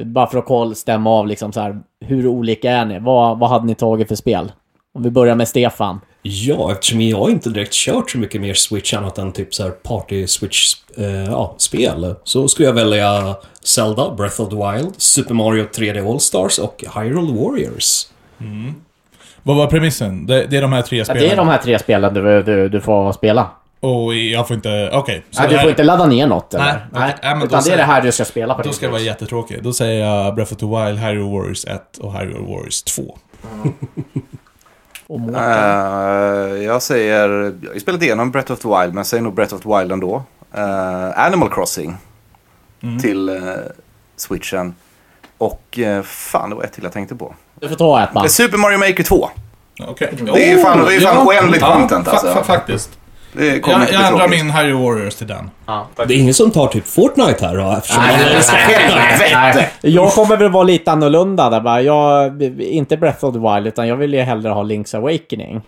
S4: Bara för att koll, stämma av liksom så här, hur olika är ni? Vad, vad hade ni tagit för spel? Om vi börjar med Stefan.
S2: Ja, eftersom jag inte direkt kört så mycket mer Switch annat än typ så här party-Switch-spel. ja, spel, så skulle jag välja Zelda, Breath of the Wild, Super Mario 3D All-Stars och Hyrule Warriors.
S1: Vad var premissen? Det, det är de här tre
S4: Ja,
S1: spelen?
S4: det är de här tre spelen du, du, du får spela.
S1: Och jag får inte... Okej. så
S4: Nej,
S1: det
S4: du
S1: här-
S4: får inte ladda ner något. eller?
S1: Nej, okej. Nej, men då
S4: Utan det är
S1: säger-
S4: det här du ska spela på
S1: Då
S4: din
S1: ska jag vara
S4: Switch.
S1: jättetråkig. Då säger jag Breath of the Wild, Hyrule Warriors 1 och Hyrule Warriors 2.
S4: Och må-
S3: Eh, jag säger... Jag har ju spelat igenom Breath of the Wild, men jag säger nog Breath of the Wild ändå. Eh, Animal Crossing
S4: Mm.
S3: till eh, switchen. Och eh, fan, det var ett till jag tänkte på.
S4: Du får ta ett band.
S3: Eh, Super Mario Maker 2.
S1: Okej.
S3: Det är ju fan- det är ju fan oändligt content,
S1: fa-
S3: alltså.
S1: fa- faktiskt.
S3: Det kommer
S1: Jag,
S3: inte
S1: jag
S3: bli
S1: ändrar
S3: tråkigt.
S1: min Hyrule Warriors till den.
S2: Det är ingen som tar typ Fortnite här då? Eftersom
S4: Nej, nej, nej, nej, nej. Jag kommer väl vara lite annorlunda där bara. Jag, inte Breath of the Wild, utan jag vill ju hellre ha Link's Awakening.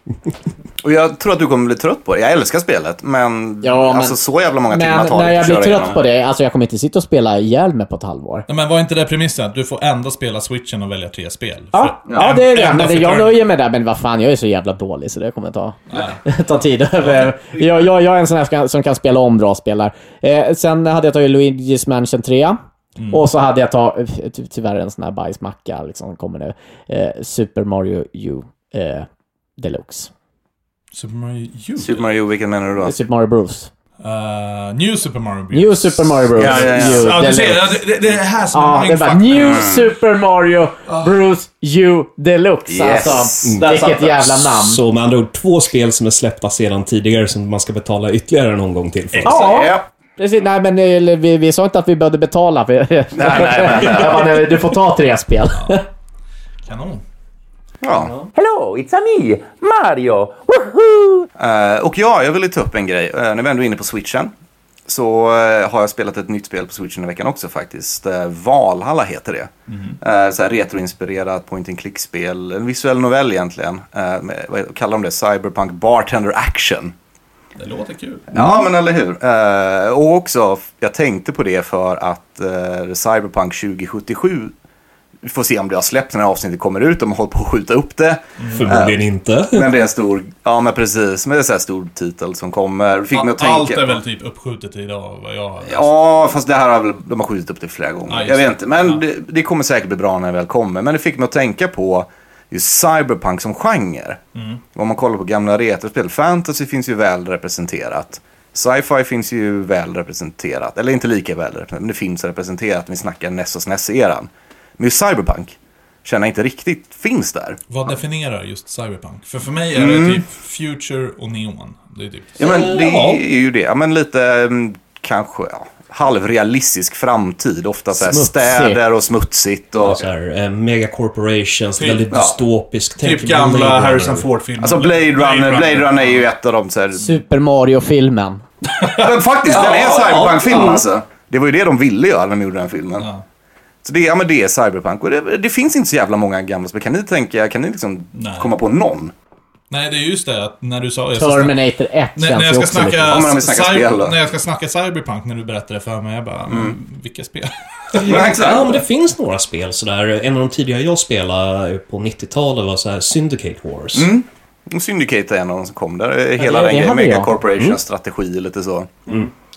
S3: Och jag tror att du kommer bli trött på det. Jag älskar spelet, men,
S4: Ja, men-
S3: alltså så jävla många timmar
S4: Men
S3: tar det
S4: när jag
S3: att
S4: blir
S3: köra
S4: trött
S3: igenom.
S4: på det, alltså jag kommer inte sitta och spela ihjäl mig på ett halvår.
S1: Nej, Men var inte det premissen? Att du får ändå spela switchen och välja tre spel?
S4: Ja,
S1: För-
S4: ja det är det.
S1: Ändå
S4: Men det,
S1: för
S4: jag
S1: turn-
S4: nöjer mig där. Men vad fan, jag är så jävla dålig så det kommer ta, [laughs] ta tid över. Jag, jag, jag är en sån här som kan- som kan spela om bra spelar. Eh, sen hade jag tagit Luigi's Mansion 3. Och så hade jag tagit, ty, tyvärr en sån här bajsmacka liksom som kommer nu. Eh, Super Mario U eh, Deluxe.
S1: Super Mario U.
S3: Super Mario, vilken menar du då?
S4: Super Mario Bros.
S1: Eh, New Super Mario Bros.
S4: New Super Mario Bros.
S3: Ja, ja, ja.
S4: U
S1: Ja, du
S4: Deluxe.
S1: ser. ja, Det, det, det är här som
S4: Ja,
S1: är
S4: det
S1: min
S4: är bara
S1: fuck-
S4: New Super Mario Bros. U Deluxe
S3: Yes.
S4: alltså.
S3: Mm.
S4: Vilket jävla namn.
S2: Så med andra ord, två spel som är släppta sedan tidigare som man ska betala ytterligare en omgång till för.
S4: Ja.
S3: Ja.
S4: Precis, nej men eh, vi, vi sa inte att vi behövde betala. För... Nej,
S3: nej,
S4: [laughs]
S3: nej.
S4: du får ta tre spel.
S1: Kanon.
S3: Ja.
S6: Hello, it's a me, Mario.
S3: Eh, och ja, jag ville ta upp en grej. Eh, när vi ändå är inne på switchen så eh, har jag spelat ett nytt spel på switchen i veckan också faktiskt. Uh, Valhalla heter det. Eh, så här retroinspirerat point and click-spel. En visuell novell egentligen. Eh, med, vad kallar de det? Cyberpunk Bartender Action.
S1: Det låter kul.
S3: Ja, men eller hur. Eh, och också, jag tänkte på det för att eh, Cyberpunk 2077, vi får se om det har släppt när det här avsnittet kommer ut, de har hållit på att skjuta upp det.
S2: Förmodligen inte.
S3: [laughs] Men det är en stor, ja men precis, men det är en sån här stor titel som kommer. Det Fick mig att
S1: Allt
S3: tänka.
S1: är väl typ uppskjutet till idag, vad jag
S3: Ja, fast det här har väl, de har skjutit upp det flera
S1: Ja,
S3: gånger.
S1: just
S3: jag vet
S1: det.
S3: inte, men
S1: Ja.
S3: det, det kommer säkert bli bra när det väl kommer. Men det fick mig att tänka på just cyberpunk som genre.
S1: Mm.
S3: Om man kollar på gamla retrospel, fantasy finns ju väl representerat. Sci-fi finns ju väl representerat, eller inte lika väl representerat, men det finns representerat. Vi snackar NES och SNES-eran. Men just cyberpunk känner jag inte riktigt finns där.
S1: Vad definierar just cyberpunk? För för mig är det typ future och neon. Det är typ...
S3: Mm. Ja, men det
S2: Ja.
S3: är ju det. Ja, men lite mm, kanske ja, halvrealistisk framtid. Ofta så här
S4: Smutsigt.
S3: städer och smutsigt. Och,
S2: Så här, eh, megacorporations,
S1: Typ,
S2: väldigt
S3: ja.
S2: dystopiskt. Tänk
S1: Typ
S2: på Blade
S1: gamla
S2: Runner.
S1: Harrison Ford-filmer.
S3: Alltså Blade Runner, Blade Runner är ju ett av de så här...
S4: [laughs] Super Mario-filmen.
S3: Men faktiskt, den är
S2: Ja,
S3: en cyberpunk-film
S2: ja.
S3: alltså. Det var ju det de ville göra när de gjorde den filmen.
S1: Ja.
S3: Så det, ja, men det är cyberpunk. Och det, det finns inte så jävla många gamla spel. Kan ni tänka, kan ni liksom
S1: Nej.
S3: komma på någon?
S1: Nej, det är just det att när du sa... jag ska snacka-
S4: Terminator 1
S1: När, när, jag
S4: känns ju
S1: ska
S4: också
S1: snacka,
S4: lite...
S3: Ja, men om vi snackar
S1: cyber-
S3: spel då.
S1: när jag ska snacka Cyberpunk, när du berättade det för mig, jag bara, mm. vilka spel? [laughs]
S3: Ja, exakt.
S2: Ja, men det finns några spel sådär. En av de tidigare jag spelade på 90-talet var så här Syndicate Wars.
S1: Mm.
S3: Mm, Syndicate är en av de som kom där. Eh, Hela den
S4: det- det
S3: grejen.
S4: hade
S3: Mega
S4: jag. Mm.
S3: Corporation strategi lite så.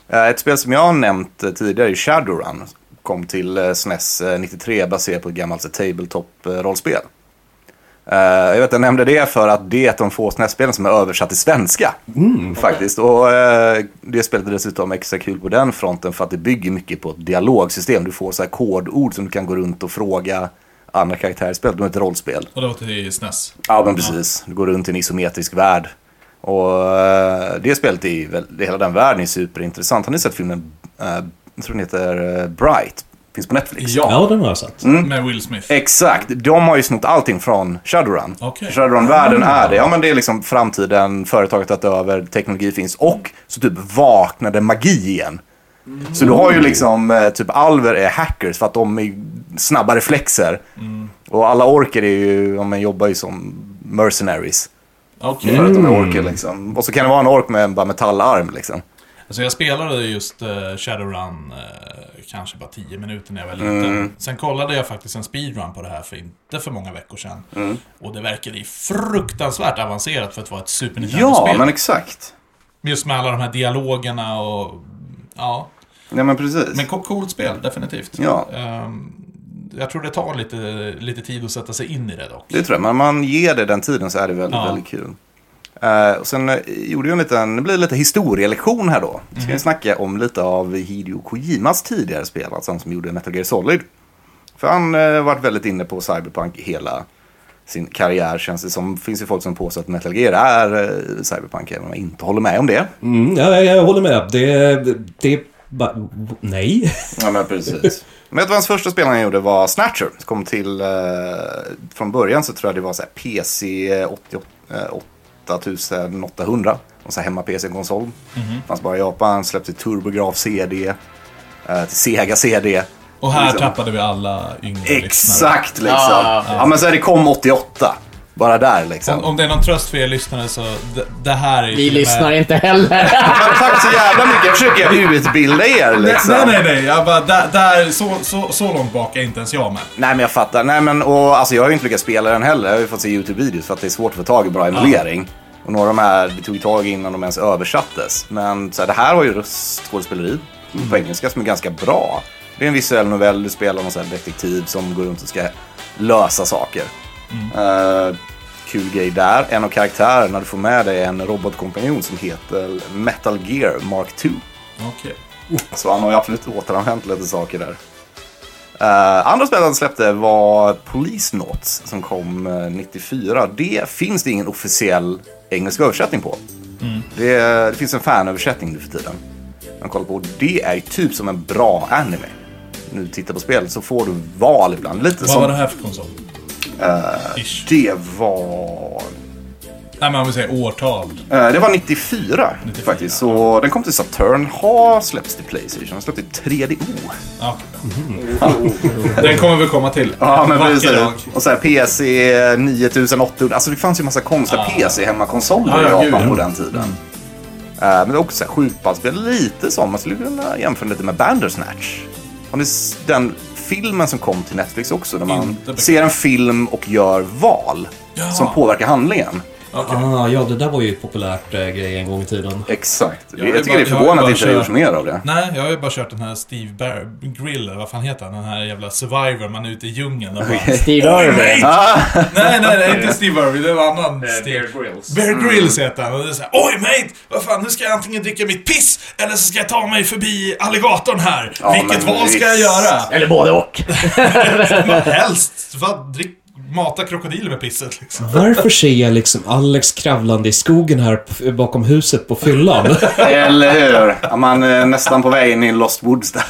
S3: Eh, Ett spel som jag har nämnt eh, tidigare är Shadowrun. Kom till eh, SNES eh, 93 baserat på ett gammalt så, tabletop-rollspel. Eh, Jag vet att jag nämnde det för att det är ett av de få SNES-spelen som är översatt till svenska.
S4: Mm.
S3: Faktiskt. Och eh, det spelet är dessutom extra kul på den fronten för att det bygger mycket på ett dialogsystem. Du får så här kodord som du kan gå runt och fråga andra karaktärer i spelet. Det är ett rollspel.
S1: Och det var till SNES.
S3: Ja, men precis. Du går runt i en isometrisk värld. Och eh, det spelet är ju väl, hela den världen är superintressant. Har ni sett filmen, eh, jag tror den heter eh, Bright? finns på Netflix.
S2: Ja, den har jag sett.
S3: Mm.
S1: Med Will Smith.
S3: Eh. Exakt, de har ju snott allting från Shadowrun.
S1: Okej.
S3: Shadowrun-världen är det. Ja, men det är liksom framtiden, företaget har tagit över, teknologi finns och så typ vaknade magi igen. Så du har ju liksom, eh, typ alver är hackers för att de är snabba reflexer.
S2: Mm.
S3: Och alla orker är ju, ja, men jobbar ju som mercenaries.
S1: Okej.
S4: Mm.
S3: För att de är orker liksom. Och så kan det vara en ork med en bara metallarm liksom.
S1: Alltså jag spelade just eh, Shadowrun eh, kanske bara 10 minuter när jag var liten. Sen kollade jag faktiskt en speedrun på det här för inte för många veckor sedan. Och det verkade ju fruktansvärt avancerat för att vara ett Super
S3: Ja,
S1: Nintendo-spel.
S3: men exakt.
S1: Just med alla de här dialogerna och... Ja.
S3: Ja, men precis.
S1: Men co- coolt spel, definitivt.
S3: Ja.
S1: Ehm, jag tror det tar lite, lite tid att sätta sig in i det dock.
S3: Det tror jag, men om man ger det den tiden så är det väldigt,
S1: Ja.
S3: väldigt kul. Eh, och sen eh, gjorde jag en liten, det blir lite historielektion här då. Ska
S1: Mhm.
S3: vi snacka om lite av Hideo Kojimas tidigare spel, alltså han som gjorde Metal Gear Solid. För han eh, har varit väldigt inne på Cyberpunk hela sin karriär känns det som. finns ju folk som påstår att Metal Gear är eh, Cyberpunk, även om jag inte håller med om det.
S2: Mm, ja, jag håller med. Det, det är bara... Nej. [laughs]
S3: Ja, men precis. Men jag tror hans första spel han gjorde var Snatcher. Så Kom till, eh, från början så tror jag det var så här PC 88, eh, 8800. Och så här hemma PC-konsol.
S1: Mhm.
S3: Fanns bara i Japan, släppte TurboGraf CD. eh, Till Sega CD.
S1: Och här
S3: Liksom.
S1: tappade Ah, vi alla yngre lyssnare.
S3: Exakt liksom. Ja, men så här, det kom 88. Bara där liksom.
S1: Om, om det är någon tröst för er lyssnare så, d- det här är ju
S4: Vi
S1: till och med-
S4: lyssnar inte heller. [laughs]
S3: Men tack så jävla mycket. Jag försöker utbilda er liksom.
S1: Nej, nej, nej. Jag bara, där, där, så, så, så långt bak är inte ens jag med.
S3: Nej men jag fattar. Nej men och alltså jag har ju inte lyckats spela den heller. Jag har ju fått se YouTube-videos för att det är svårt att få tag i bra emulering. Och några av de här, det tog ju tag innan de ens översattes. Men så här, det här har ju röstskådespeleri på engelska som är ganska bra. Det är en visuell novell, du spelar någon sån här detektiv som går runt och ska lösa saker. Eh, kul grej där. En av karaktärerna du får med dig är en robotkompanjon som heter Metal Gear Mark II.
S1: Okej.
S3: Så han har ju absolut återanvänt lite saker där. Eh, andra spelet han släppte var Police Knots som kom eh, 94. Det finns det ingen officiell engelsk översättning på.
S1: Mm.
S3: Det, det finns en fanöversättning nu för tiden. Man kollar på och det är ju typ som en bra anime. Nu tittar på spelet så får du val ibland. Lite
S1: Vad
S3: som...
S1: var det här för konsol?
S3: Eh,
S1: Ish.
S3: Det var...
S1: Nej, men om vi säger årtal.
S3: Eh, Det var 94, faktiskt. Så den kom till Saturn. Har släppts till Playstation. Den släpptes till 3DO.
S1: Ja. Den kommer vi komma till.
S3: Mm-hmm. Ja, men
S1: Vacker
S3: precis.
S1: dag.
S3: Och så här PC 9800. Alltså det fanns ju en massa konstiga PC
S1: Ja,
S3: hemmakonsoler
S1: ja,
S3: i
S1: gud,
S3: Japan
S1: ja.
S3: på den tiden. Eh, men det är också så här skjutbandspel. Lite som, man skulle kunna jämföra lite med Bandersnatch. Har ni s- den filmen som kom till Netflix också? Där man
S1: Inte bekant.
S3: ser en film och gör val
S1: Ja.
S3: som påverkar handlingen.
S2: Ah, ja, det där var ju ett populärt äh, grej en gång i tiden.
S3: Exakt.
S1: har ju
S3: jag tycker
S1: bara-
S3: det är
S1: jag har ju
S3: förvånande
S1: bara
S3: att inte det
S1: kört-
S3: görs mer av det.
S1: Nej, jag har ju bara kört den här Steve Bar- Grill, eller vad fan heter han? Den här jävla Survivor, man är ute i djungeln och
S3: [laughs]
S1: bara...
S4: Steve Irwin.
S3: Ah,
S1: Nej, nej, nej, inte Steve Irwin, det var en annan Steve.
S7: Grills.
S1: Bear Eh,
S3: Mm.
S1: Grylls heter han och det är såhär Oj mate! Vad fan, nu ska jag antingen dricka mitt piss eller så ska jag ta mig förbi alligatorn här.
S3: Ja,
S1: Vilket
S3: men
S1: val ska
S3: visst.
S1: jag göra?
S4: Eller både och.
S1: Vad helst! Vad, drick, mata krokodiler med pisset liksom.
S2: Varför ser jag liksom Alex kravlande i skogen här p- bakom huset på fyllan?
S3: [laughs]
S1: [laughs]
S3: eller hur? Ja, man är nästan på väg in i Lost Woods där.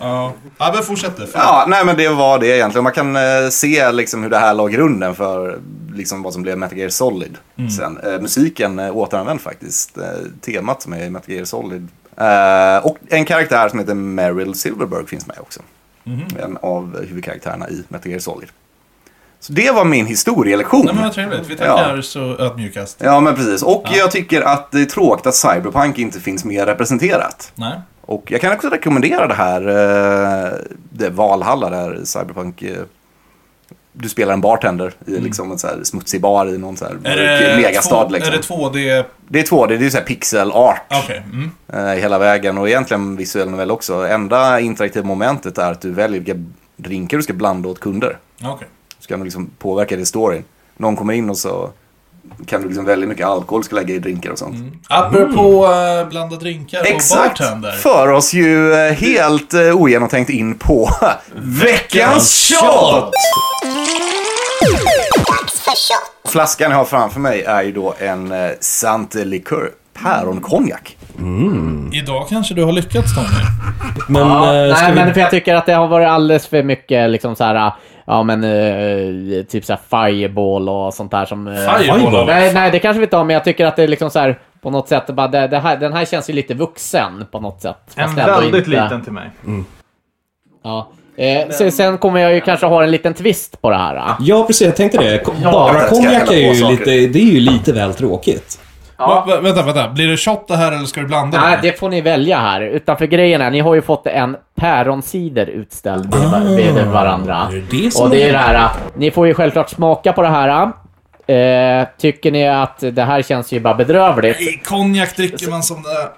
S1: Ja, ja men fortsätt du. Fan.
S3: Ja, nej men det var det egentligen. Man kan eh, se liksom hur det här la grunden för liksom, vad som blev Metal Gear Solid.
S1: Mm.
S3: Sen, eh, musiken eh, återanvänd faktiskt, eh, temat som är i Metal Gear Solid. Eh, och en karaktär som heter Meryl Silverberg finns med också.
S1: Mhm.
S3: En av huvudkaraktärerna i Metal Gear Solid. Så det var min historielektion.
S1: Nej men vad trevligt, vi tackar så ödmjukast.
S3: Ja, men precis. Och jag tycker att det är tråkigt att Cyberpunk inte finns mer representerat.
S1: Nej.
S3: Och jag kan också rekommendera det här, eh, det Valhalla där Cyberpunk, eh, du spelar en bartender i liksom en så här smutsig bar i någon så här
S1: Mm. Är
S3: mörk
S1: det,
S3: megastad.
S1: två,
S3: liksom.
S1: är det 2D?
S3: det är 2D, det är så här pixel art
S1: Okej. Mm.
S3: eh, hela vägen och egentligen visuell novell också. Enda interaktiva momentet är att du väljer vilka drinkar du ska blanda åt kunder.
S1: Okej.
S3: Så kan du liksom påverka det i storyn. Någon kommer in och så kan du liksom välja hur mycket alkohol du ska lägga i drinkar och
S1: Mm.
S3: sånt.
S1: Apropå eh, blanda drinkar och
S3: Exakt.
S1: bartender.
S3: För oss ju eh, helt eh, ogenomtänkt
S1: [laughs]
S3: in på veckans shot! Flaskan jag har framför mig är ju då en eh, Sante Liqueur päronkonjak.
S1: Idag kanske du har lyckats Tommy.
S2: Men, eh, ska
S4: Nej,
S2: vi...
S4: men för jag tycker att det har varit alldeles för mycket liksom så här, ja men eh, typ så här fireball och sånt där som... eh,
S2: Fireball.
S4: Nej, nej, det kanske vi inte har, men jag tycker att det är liksom så här på något sätt bara, det, det här, den här känns ju lite vuxen på något sätt.
S7: En
S4: Fast ändå
S7: väldigt
S4: inte.
S7: liten till mig.
S4: Ja. Eh, sen, sen kommer jag ju kanske ha en liten twist på det här. eh.
S2: Ja, precis. Jag tänkte det. Ko- Bara
S3: vänta, ska jag
S2: konjak
S3: hälla
S2: är ju
S3: på saker?
S2: lite, det är ju lite väl tråkigt.
S1: Va, va, vänta, vänta. Blir det shot det här eller ska du blanda
S4: Nej, det får ni välja här. Utanför grejen är, ni har ju fått en päronsider utställd bredvid bredvid varandra.
S2: Ah. Är det det som
S4: Och det
S2: är-
S4: är det här, eh, ni får ju självklart smaka på det här. ah. Eh, tycker ni att det här känns ju bara bedrövligt,
S1: I konjak dricker man som det är.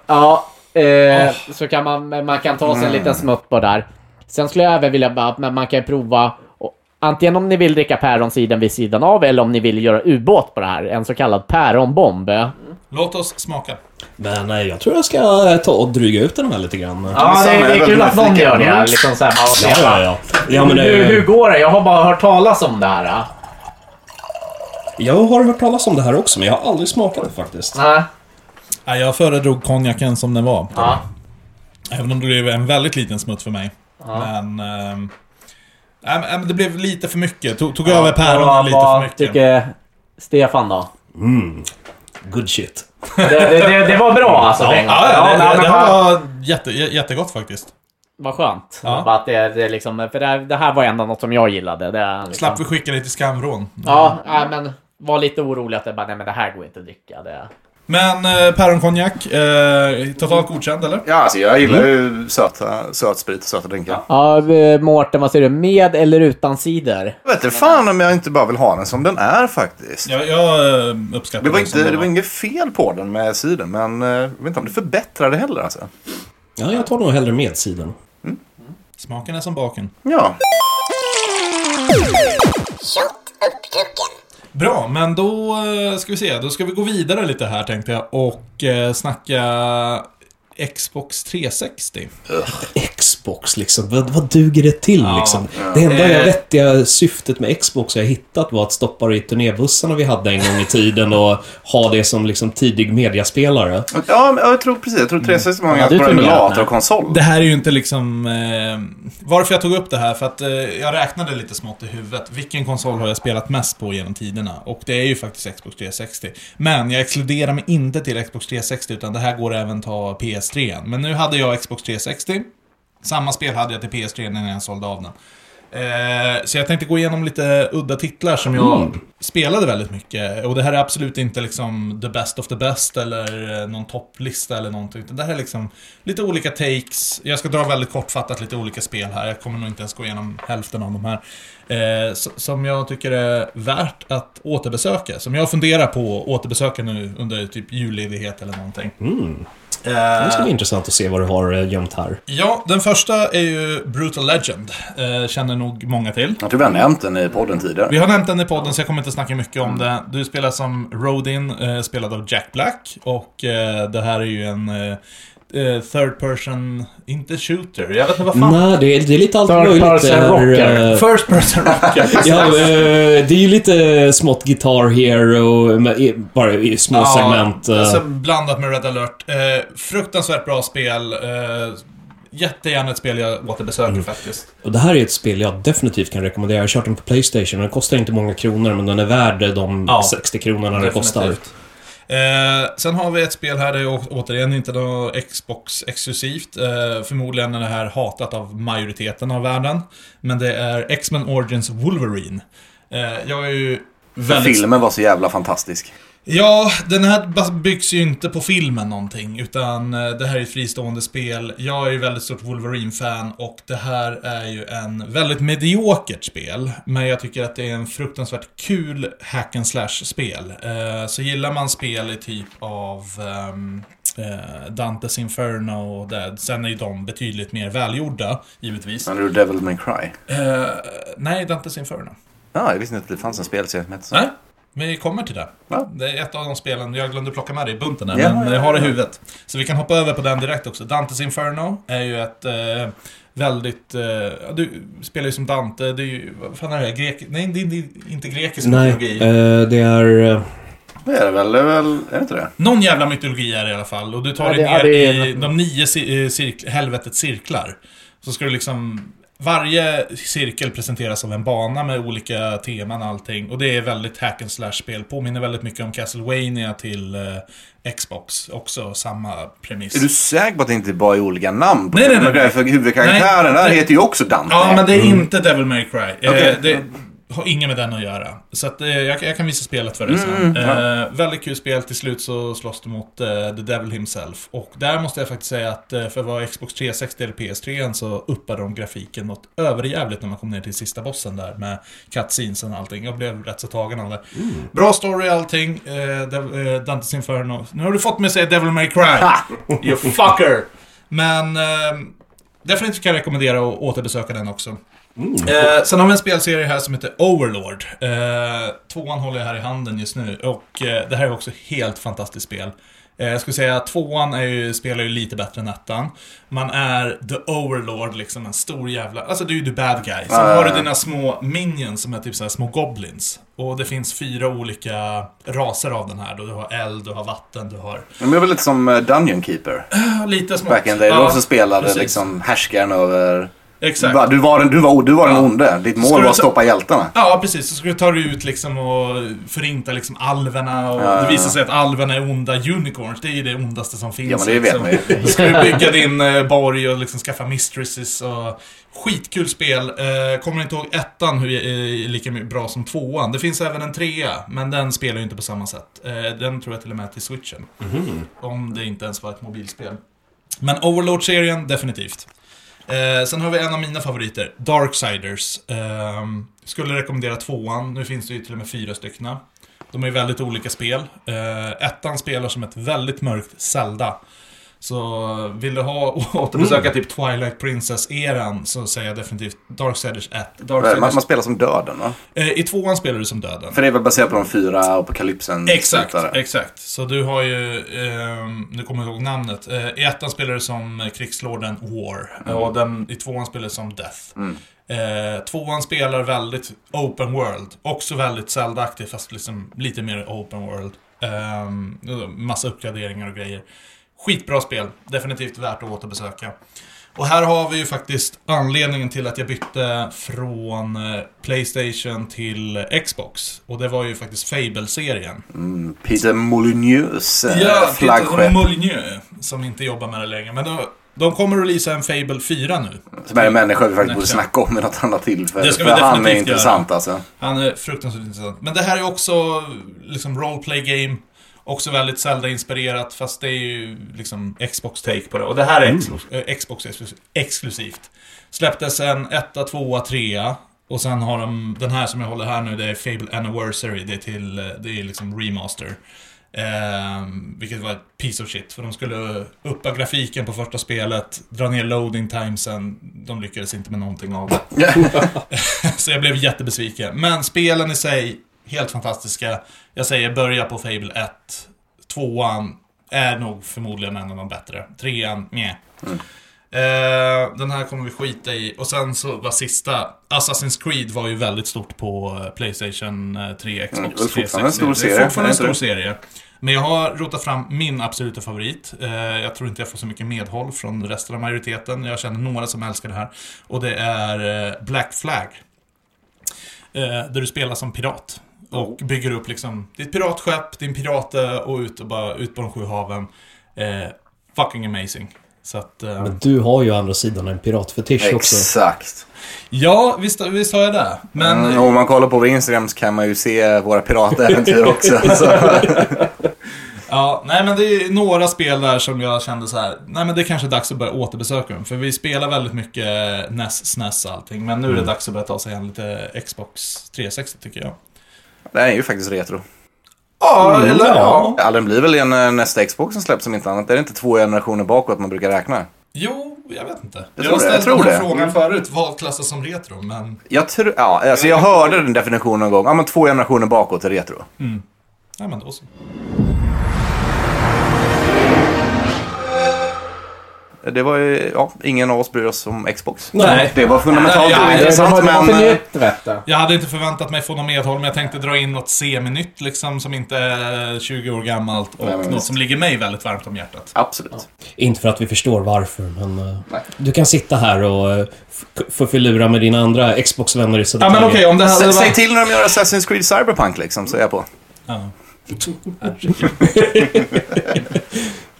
S4: Ja, eh, så kan man, man kan ta sig en liten smutt på där. Sen skulle jag även vilja bara, men man kan ju prova och, Antingen om ni vill dricka päronsiden vid sidan av eller om ni vill göra ubåt på det här. En så kallad päronbomb. eh.
S1: Låt oss smaka.
S2: Men nej, jag tror jag ska eh, ta och dryga ut den här lite grann.
S4: Ja, det,
S3: Samma,
S4: är- det
S3: jag
S4: är
S3: är
S4: kul
S3: väldigt
S4: att någon
S3: nyfiken.
S4: gör det. Liksom så här,
S2: ja,
S4: ja,
S2: ja. ja. ja men,
S4: hur,
S2: eh,
S4: hur går det? Jag har bara hört talas om det här. eh.
S2: jag har hört talas om det här också, men jag har aldrig smakat det faktiskt.
S4: Nej.
S1: Nej, jag föredrog konjaken som den var.
S4: Ja.
S1: Även om det blev en väldigt liten smutt för mig. Men... ehm, nej, men- nej, men det blev lite för mycket. Tog, tog över päronen
S4: Vad-
S1: lite för
S4: vad
S1: mycket.
S4: tycker Stefan då?
S2: Good shit.
S4: Det, det, det, det var bra alltså.
S2: Ja,
S4: Bengt.
S1: Ja, ja, det,
S4: nej,
S1: det,
S4: men
S1: det
S4: vad-
S1: här var jätte, jä- jättegott faktiskt.
S4: Vad skönt.
S1: Ja.
S4: Bara att det, det är liksom, för det här, det här var ändå något som jag gillade. Det är liksom,
S1: Slapp vi skicka dig till skamvrån.
S4: Ja, nej, men var lite orolig att det bara, nej men det här går inte att dricka. Det...
S1: Men eh, päronkonjak, eh, totalt godkänd eller?
S3: Ja, alltså jag gillar ju söta, söt sprit och söta drinkar.
S4: Ja, eh, Mårten, vad säger du? Med eller utan cider?
S3: Jag vet inte fan om jag inte bara vill ha den som den är faktiskt.
S1: Jag, jag eh, uppskattar
S3: Det var,
S1: den som
S3: inte,
S1: den
S3: det var inget fel på den med sidan, men eh, jag vet inte om det förbättrade heller alltså.
S2: Ja, jag tar nog hellre med sidan.
S1: Smaken är som baken.
S3: Ja.
S1: Bra, men då eh, ska vi se. Då ska vi gå vidare lite här tänkte jag och eh, snacka Xbox 360.
S2: Xbox liksom, vad, vad duger det till liksom? Det enda jag vettiga syftet med Xbox jag hittat var att stoppa det i turnébussarna vi hade en gång i tiden och ha det som liksom tidig mediaspelare.
S3: Ja, men jag tror precis. Jag tror
S1: Mm.
S3: 360 var
S4: Ja,
S3: många
S4: du
S3: på
S4: tror mer,
S3: emulator
S4: nej.
S3: och konsol.
S1: Det här är ju inte liksom... Eh, varför jag tog upp det här, för att eh, jag räknade lite smått i huvudet. Vilken konsol har jag spelat mest på genom tiderna? Och det är ju faktiskt Xbox 360. Men jag exkluderar mig inte till Xbox 360, utan det här går även ta PS3. -en. Men nu hade jag Xbox 360. Samma spel hade jag till PS3 när jag sålde av den. Eh, så jag tänkte gå igenom lite udda titlar som jag spelade väldigt mycket. Och det här är absolut inte liksom the best of the best eller eh, någon topplista eller någonting. Det här är liksom lite olika takes. Jag ska dra väldigt kortfattat lite olika spel här. Jag kommer nog inte ens gå igenom hälften av de här. Eh, s- som jag tycker är värt att återbesöka. Som jag funderar på att återbesöka nu under typ julledighet eller någonting.
S2: Det ska bli intressant att se vad du har eh, gömt här.
S1: Ja, den första är ju Brutal Legend. Eh, känner nog många till.
S3: Jag tror vi har nämnt den i podden tidigare.
S1: Vi har nämnt den i podden så jag kommer inte snacka mycket om det. Du spelar som Rodin, eh, spelad av Jack Black. Och eh, det här är ju en eh, eh, third person, inte shooter. Jag vet inte vad fan.
S2: Nej, det är, det är lite allt
S4: Third
S2: möjligt.
S4: person
S2: där,
S4: rocker.
S2: eh,
S1: First person
S2: [laughs]
S1: rocker.
S2: Ja, eh, det är ju lite smått Guitar Hero, men i- bara i små segment. eh.
S1: alltså, blandat med Red Alert. Eh, fruktansvärt bra spel. Eh, jättegärna ett spel jag återbesöker
S2: Mm.
S1: faktiskt.
S2: Och det här är ett spel jag definitivt kan rekommendera. Jag har kört den på Playstation. Den kostar inte många kronor, men den är värd de
S1: Ja,
S2: 60 kronorna det kostar.
S1: Definitivt. Eh, sen har vi ett spel här, det är å- återigen inte något Xbox-exklusivt. Eh, förmodligen är det här hatat av majoriteten av världen. Men det är X-Men Origins Wolverine. Eh, jag är ju väldigt...
S3: Filmen var så jävla fantastisk.
S1: Ja, den här bas- byggs ju inte på filmen någonting, utan eh, det här är ett fristående spel. Jag är ju väldigt stort Wolverine-fan och det här är ju en väldigt mediokert spel. Men jag tycker att det är en fruktansvärt kul hack and slash-spel. Eh, Så gillar man spel i typ av ehm, eh, Dantes Inferno och det, sen är ju de betydligt mer välgjorda, givetvis.
S3: Men du Devil May Cry.
S1: Eh, Nej, Dantes Inferno.
S3: Ja, jag visste inte att det fanns en spelserie som hette så.
S1: Nej, vi kommer till det.
S3: Alltså. Ja.
S1: Det är ett av de spelen, jag glömde plocka med det i bunten här,
S3: Ja,
S1: men
S3: ja,
S1: jag har det i
S3: ja.
S1: huvudet. Så vi kan hoppa över på den direkt också. Dantes Inferno är ju ett eh, väldigt... Eh, ja, du spelar ju som Dante, det är ju... Vad fan är det här? Grek... Nej, det är inte- inte grekisk
S2: Nej,
S1: mytologi.
S2: eh, det är... eh,
S3: Det är det väl? Det är, väl, är det inte det?
S1: Någon jävla mytologi är det i alla fall. Och du tar
S4: Ja,
S1: dig
S4: det-
S1: ner
S4: ja, det är-
S1: i de nio ci- eh, cirk- helvetets cirklar. Så ska du liksom... Varje cirkel presenteras av en bana med olika teman och allting. Och det är väldigt hack and slash-spel. Påminner väldigt mycket om Castlevania till eh, Xbox. Också samma premiss.
S3: Är du säker på att det inte bara är olika namn? på
S1: Nej, nej,
S3: det?
S1: nej, nej.
S3: För huvudkaraktären
S1: Nej.
S3: där heter ju också Dante.
S1: Ja, men det är inte Devil May Cry. Eh,
S3: Okej.
S1: Det har inget med den att göra. Så att, eh, jag, jag kan visa spelet för dig sen. Eh, väldigt kul spel. Till slut så slåss du mot eh, The Devil himself. Och där måste jag faktiskt säga att eh, för att vara Xbox 360 eller PS3 så uppade de grafiken något överjävligt när man kom ner till sista bossen där med cutscenesen och allting. Jag blev rätt så tagen av det. Bra story och allting. Eh, Dev- eh, Dantes Inferno. Nu har du fått mig att säga Devil May Cry. You fucker! Men... ehm, Definitivt kan jag rekommendera att återbesöka den också. Eh, sen har vi en spelserie här som heter Overlord. Eh, tvåan håller jag här i handen just nu och eh, det här är också ett helt fantastiskt spel. Eh, jag skulle säga att tvåan är ju, spelar ju lite bättre än ettan. Man är the overlord, liksom en stor jävla... Alltså du är ju the bad guy. Sen
S3: Ah.
S1: har du dina små minions som är typ så här små goblins. Och det finns fyra olika raser av den här då. Du har eld, du har vatten, du har...
S3: Men det är väl lite som eh, Dungeon Keeper.
S1: Ja, Lite smått.
S3: Back in the day. Du
S1: Ja,
S3: också spelade
S1: precis.
S3: liksom härskaren över...
S1: Exakt.
S3: Va, Du var den, du var, du var den
S1: Ja.
S3: onde. Ditt mål
S1: Ska du
S3: var att
S1: så-
S3: stoppa hjältarna.
S1: Ja, precis. Så ska du ta dig ut liksom och förinta liksom alverna och
S3: Ja, ja,
S1: det visar
S3: ja.
S1: sig att alverna är onda unicorns. Det är ju det ondaste som finns.
S3: Ja, men det vet
S1: liksom.
S3: man
S1: [laughs]
S3: ju.
S1: Då ska du bygga din eh, borg och liksom skaffa mistresses och... Skitkul spel. Eh, kommer inte ihåg ettan hur eh, lika bra som tvåan. Det finns även en trea, men den spelar ju inte på samma sätt. Eh, den tror jag till och med är till switchen.
S3: Mhm.
S1: Om det inte ens var ett mobilspel. Men Overlord-serien, definitivt. Eh, sen har vi en av mina favoriter, Darksiders. Ehm, skulle rekommendera tvåan, nu finns det ju till och med fyra stycken. De är ju väldigt olika spel. Eh, ettan spelar som ett väldigt mörkt Zelda. Så vill du ha [laughs] återbesöka typ Twilight Princess-eran så säger jag definitivt Darksiders 1.
S3: Man, man
S1: Darksiders,
S3: spelar som döden va?
S1: eh, I tvåan spelar du som döden.
S3: För det är väl baserat på de fyra apokalypsen
S1: Exakt,
S3: slutare.
S1: exakt. Så du har ju, ehm, nu kommer jag ihåg namnet. Eh, I ettan spelar du som eh, krigslorden War. Och den, i tvåan spelar du som Death. Eh, tvåan spelar väldigt open world. Också väldigt Zelda-aktig, fast liksom lite mer open world. Ehm, massa uppgraderingar och grejer. Skitbra spel. Definitivt värt att återbesöka. Och här har vi ju faktiskt anledningen till att jag bytte från eh, Playstation till eh, Xbox. Och det var ju faktiskt Fable-serien.
S3: Peter Molyneux eh,
S1: Ja,
S3: flaggskepp.
S1: Moulineux, som inte jobbar med det längre. Men då, de kommer att releasa en Fable 4 nu.
S3: Som är en människa vi faktiskt borde
S1: Nästa.
S3: snacka om i något annat tillfälle.
S1: Det ska
S3: För
S1: vi
S3: han är
S1: definitivt
S3: intressant alltså.
S1: Han är fruktansvärt intressant. Men det här är också liksom roleplay game. Också väldigt Zelda-inspirerat, fast det är ju liksom Xbox-take på det. Och det här är Xbox, eh, Xbox exklus- exklusivt. Släpptes en etta, tvåa, trea. Och sen har de den här som jag håller här nu, det är Fable Anniversary. Det är, till, eh, det är liksom remaster. Ehm, vilket var ett piece of shit, för de skulle uppa grafiken på första spelet, dra ner loading timesen, de lyckades inte med någonting av det. [laughs] Så jag blev jättebesviken. Men spelen i sig, helt fantastiska. Jag säger börja på Fable 1. Tvåan är nog förmodligen en av de bättre. Trean, nja.
S3: Mm.
S1: Eh, den här kommer vi skita i. Och sen så var sista, Assassin's Creed var ju väldigt stort på eh, Playstation eh, 3, Xbox
S3: Mm, det är
S1: 360.
S3: fortfarande en stor
S1: Det
S3: serie,
S1: är fortfarande
S3: är
S1: en
S3: det
S1: stor
S3: inte
S1: serie. Men jag har rotat fram min absoluta favorit. Eh, jag tror inte jag får så mycket medhåll från resten av majoriteten. Jag känner några som älskar det här. Och det är eh, Black Flag. Eh, där du spelar som pirat. Och bygger upp liksom ditt piratskepp, din piratö och ut, och bara, ut på de sju haven. Eh, fucking amazing. Så att, eh,
S2: Men du har ju å andra sidan en piratfetisch också.
S3: Exakt.
S1: ja, visst, visst har jag det. Men
S3: Mm, och om man kollar på vår Instagram så kan man ju se våra piratäventyr också. Så.
S1: Ja, nej men det är några spel där som jag kände så här, nej men det är kanske är dags att börja återbesöka dem. För vi spelar väldigt mycket NES, SNES och allting. Men nu
S3: Mm.
S1: är det dags att börja ta sig an lite Xbox 360 tycker jag. Mm.
S3: Det här är ju faktiskt retro.
S1: Ja, eller
S2: ja.
S3: Ja, den blir väl en eh, nästa Xbox som släpps om inte annat. Är det inte två generationer bakåt man brukar räkna?
S1: Jo, jag vet inte. Jag,
S3: Jag tror det,
S1: har ställt
S3: jag tror
S1: den här
S3: det. Mm.
S1: frågan förut, vad klassas som retro? Men
S3: Jag tror, ja, alltså jag hörde den definitionen någon gång. Ja, men två generationer bakåt är retro.
S1: Nej men då så.
S3: Det var ju, ja, ingen av oss bryr oss om Xbox.
S2: Nej.
S3: Det var fundamentalt
S1: Nej, nej,
S3: ointressant,
S7: det var
S3: men...
S7: för
S3: eh,
S7: nytt, vet du.
S1: Jag hade inte förväntat mig få något medhåll, men jag tänkte dra in något seminytt liksom, som inte är 20 år gammalt och
S3: Nej, men
S1: något
S3: visst.
S1: som ligger mig väldigt varmt om hjärtat.
S3: Absolut.
S2: Inte för att vi förstår varför, men... eh,
S3: Nej.
S2: Du kan sitta här och eh, f- få filura med dina andra Xbox-vänner i
S1: Ja,
S2: Södertälje.
S1: men okej, om det hade
S3: Sä- Säg
S1: varit...
S3: till när de gör Assassin's Creed Cyberpunk liksom, så är jag på.
S1: Ja.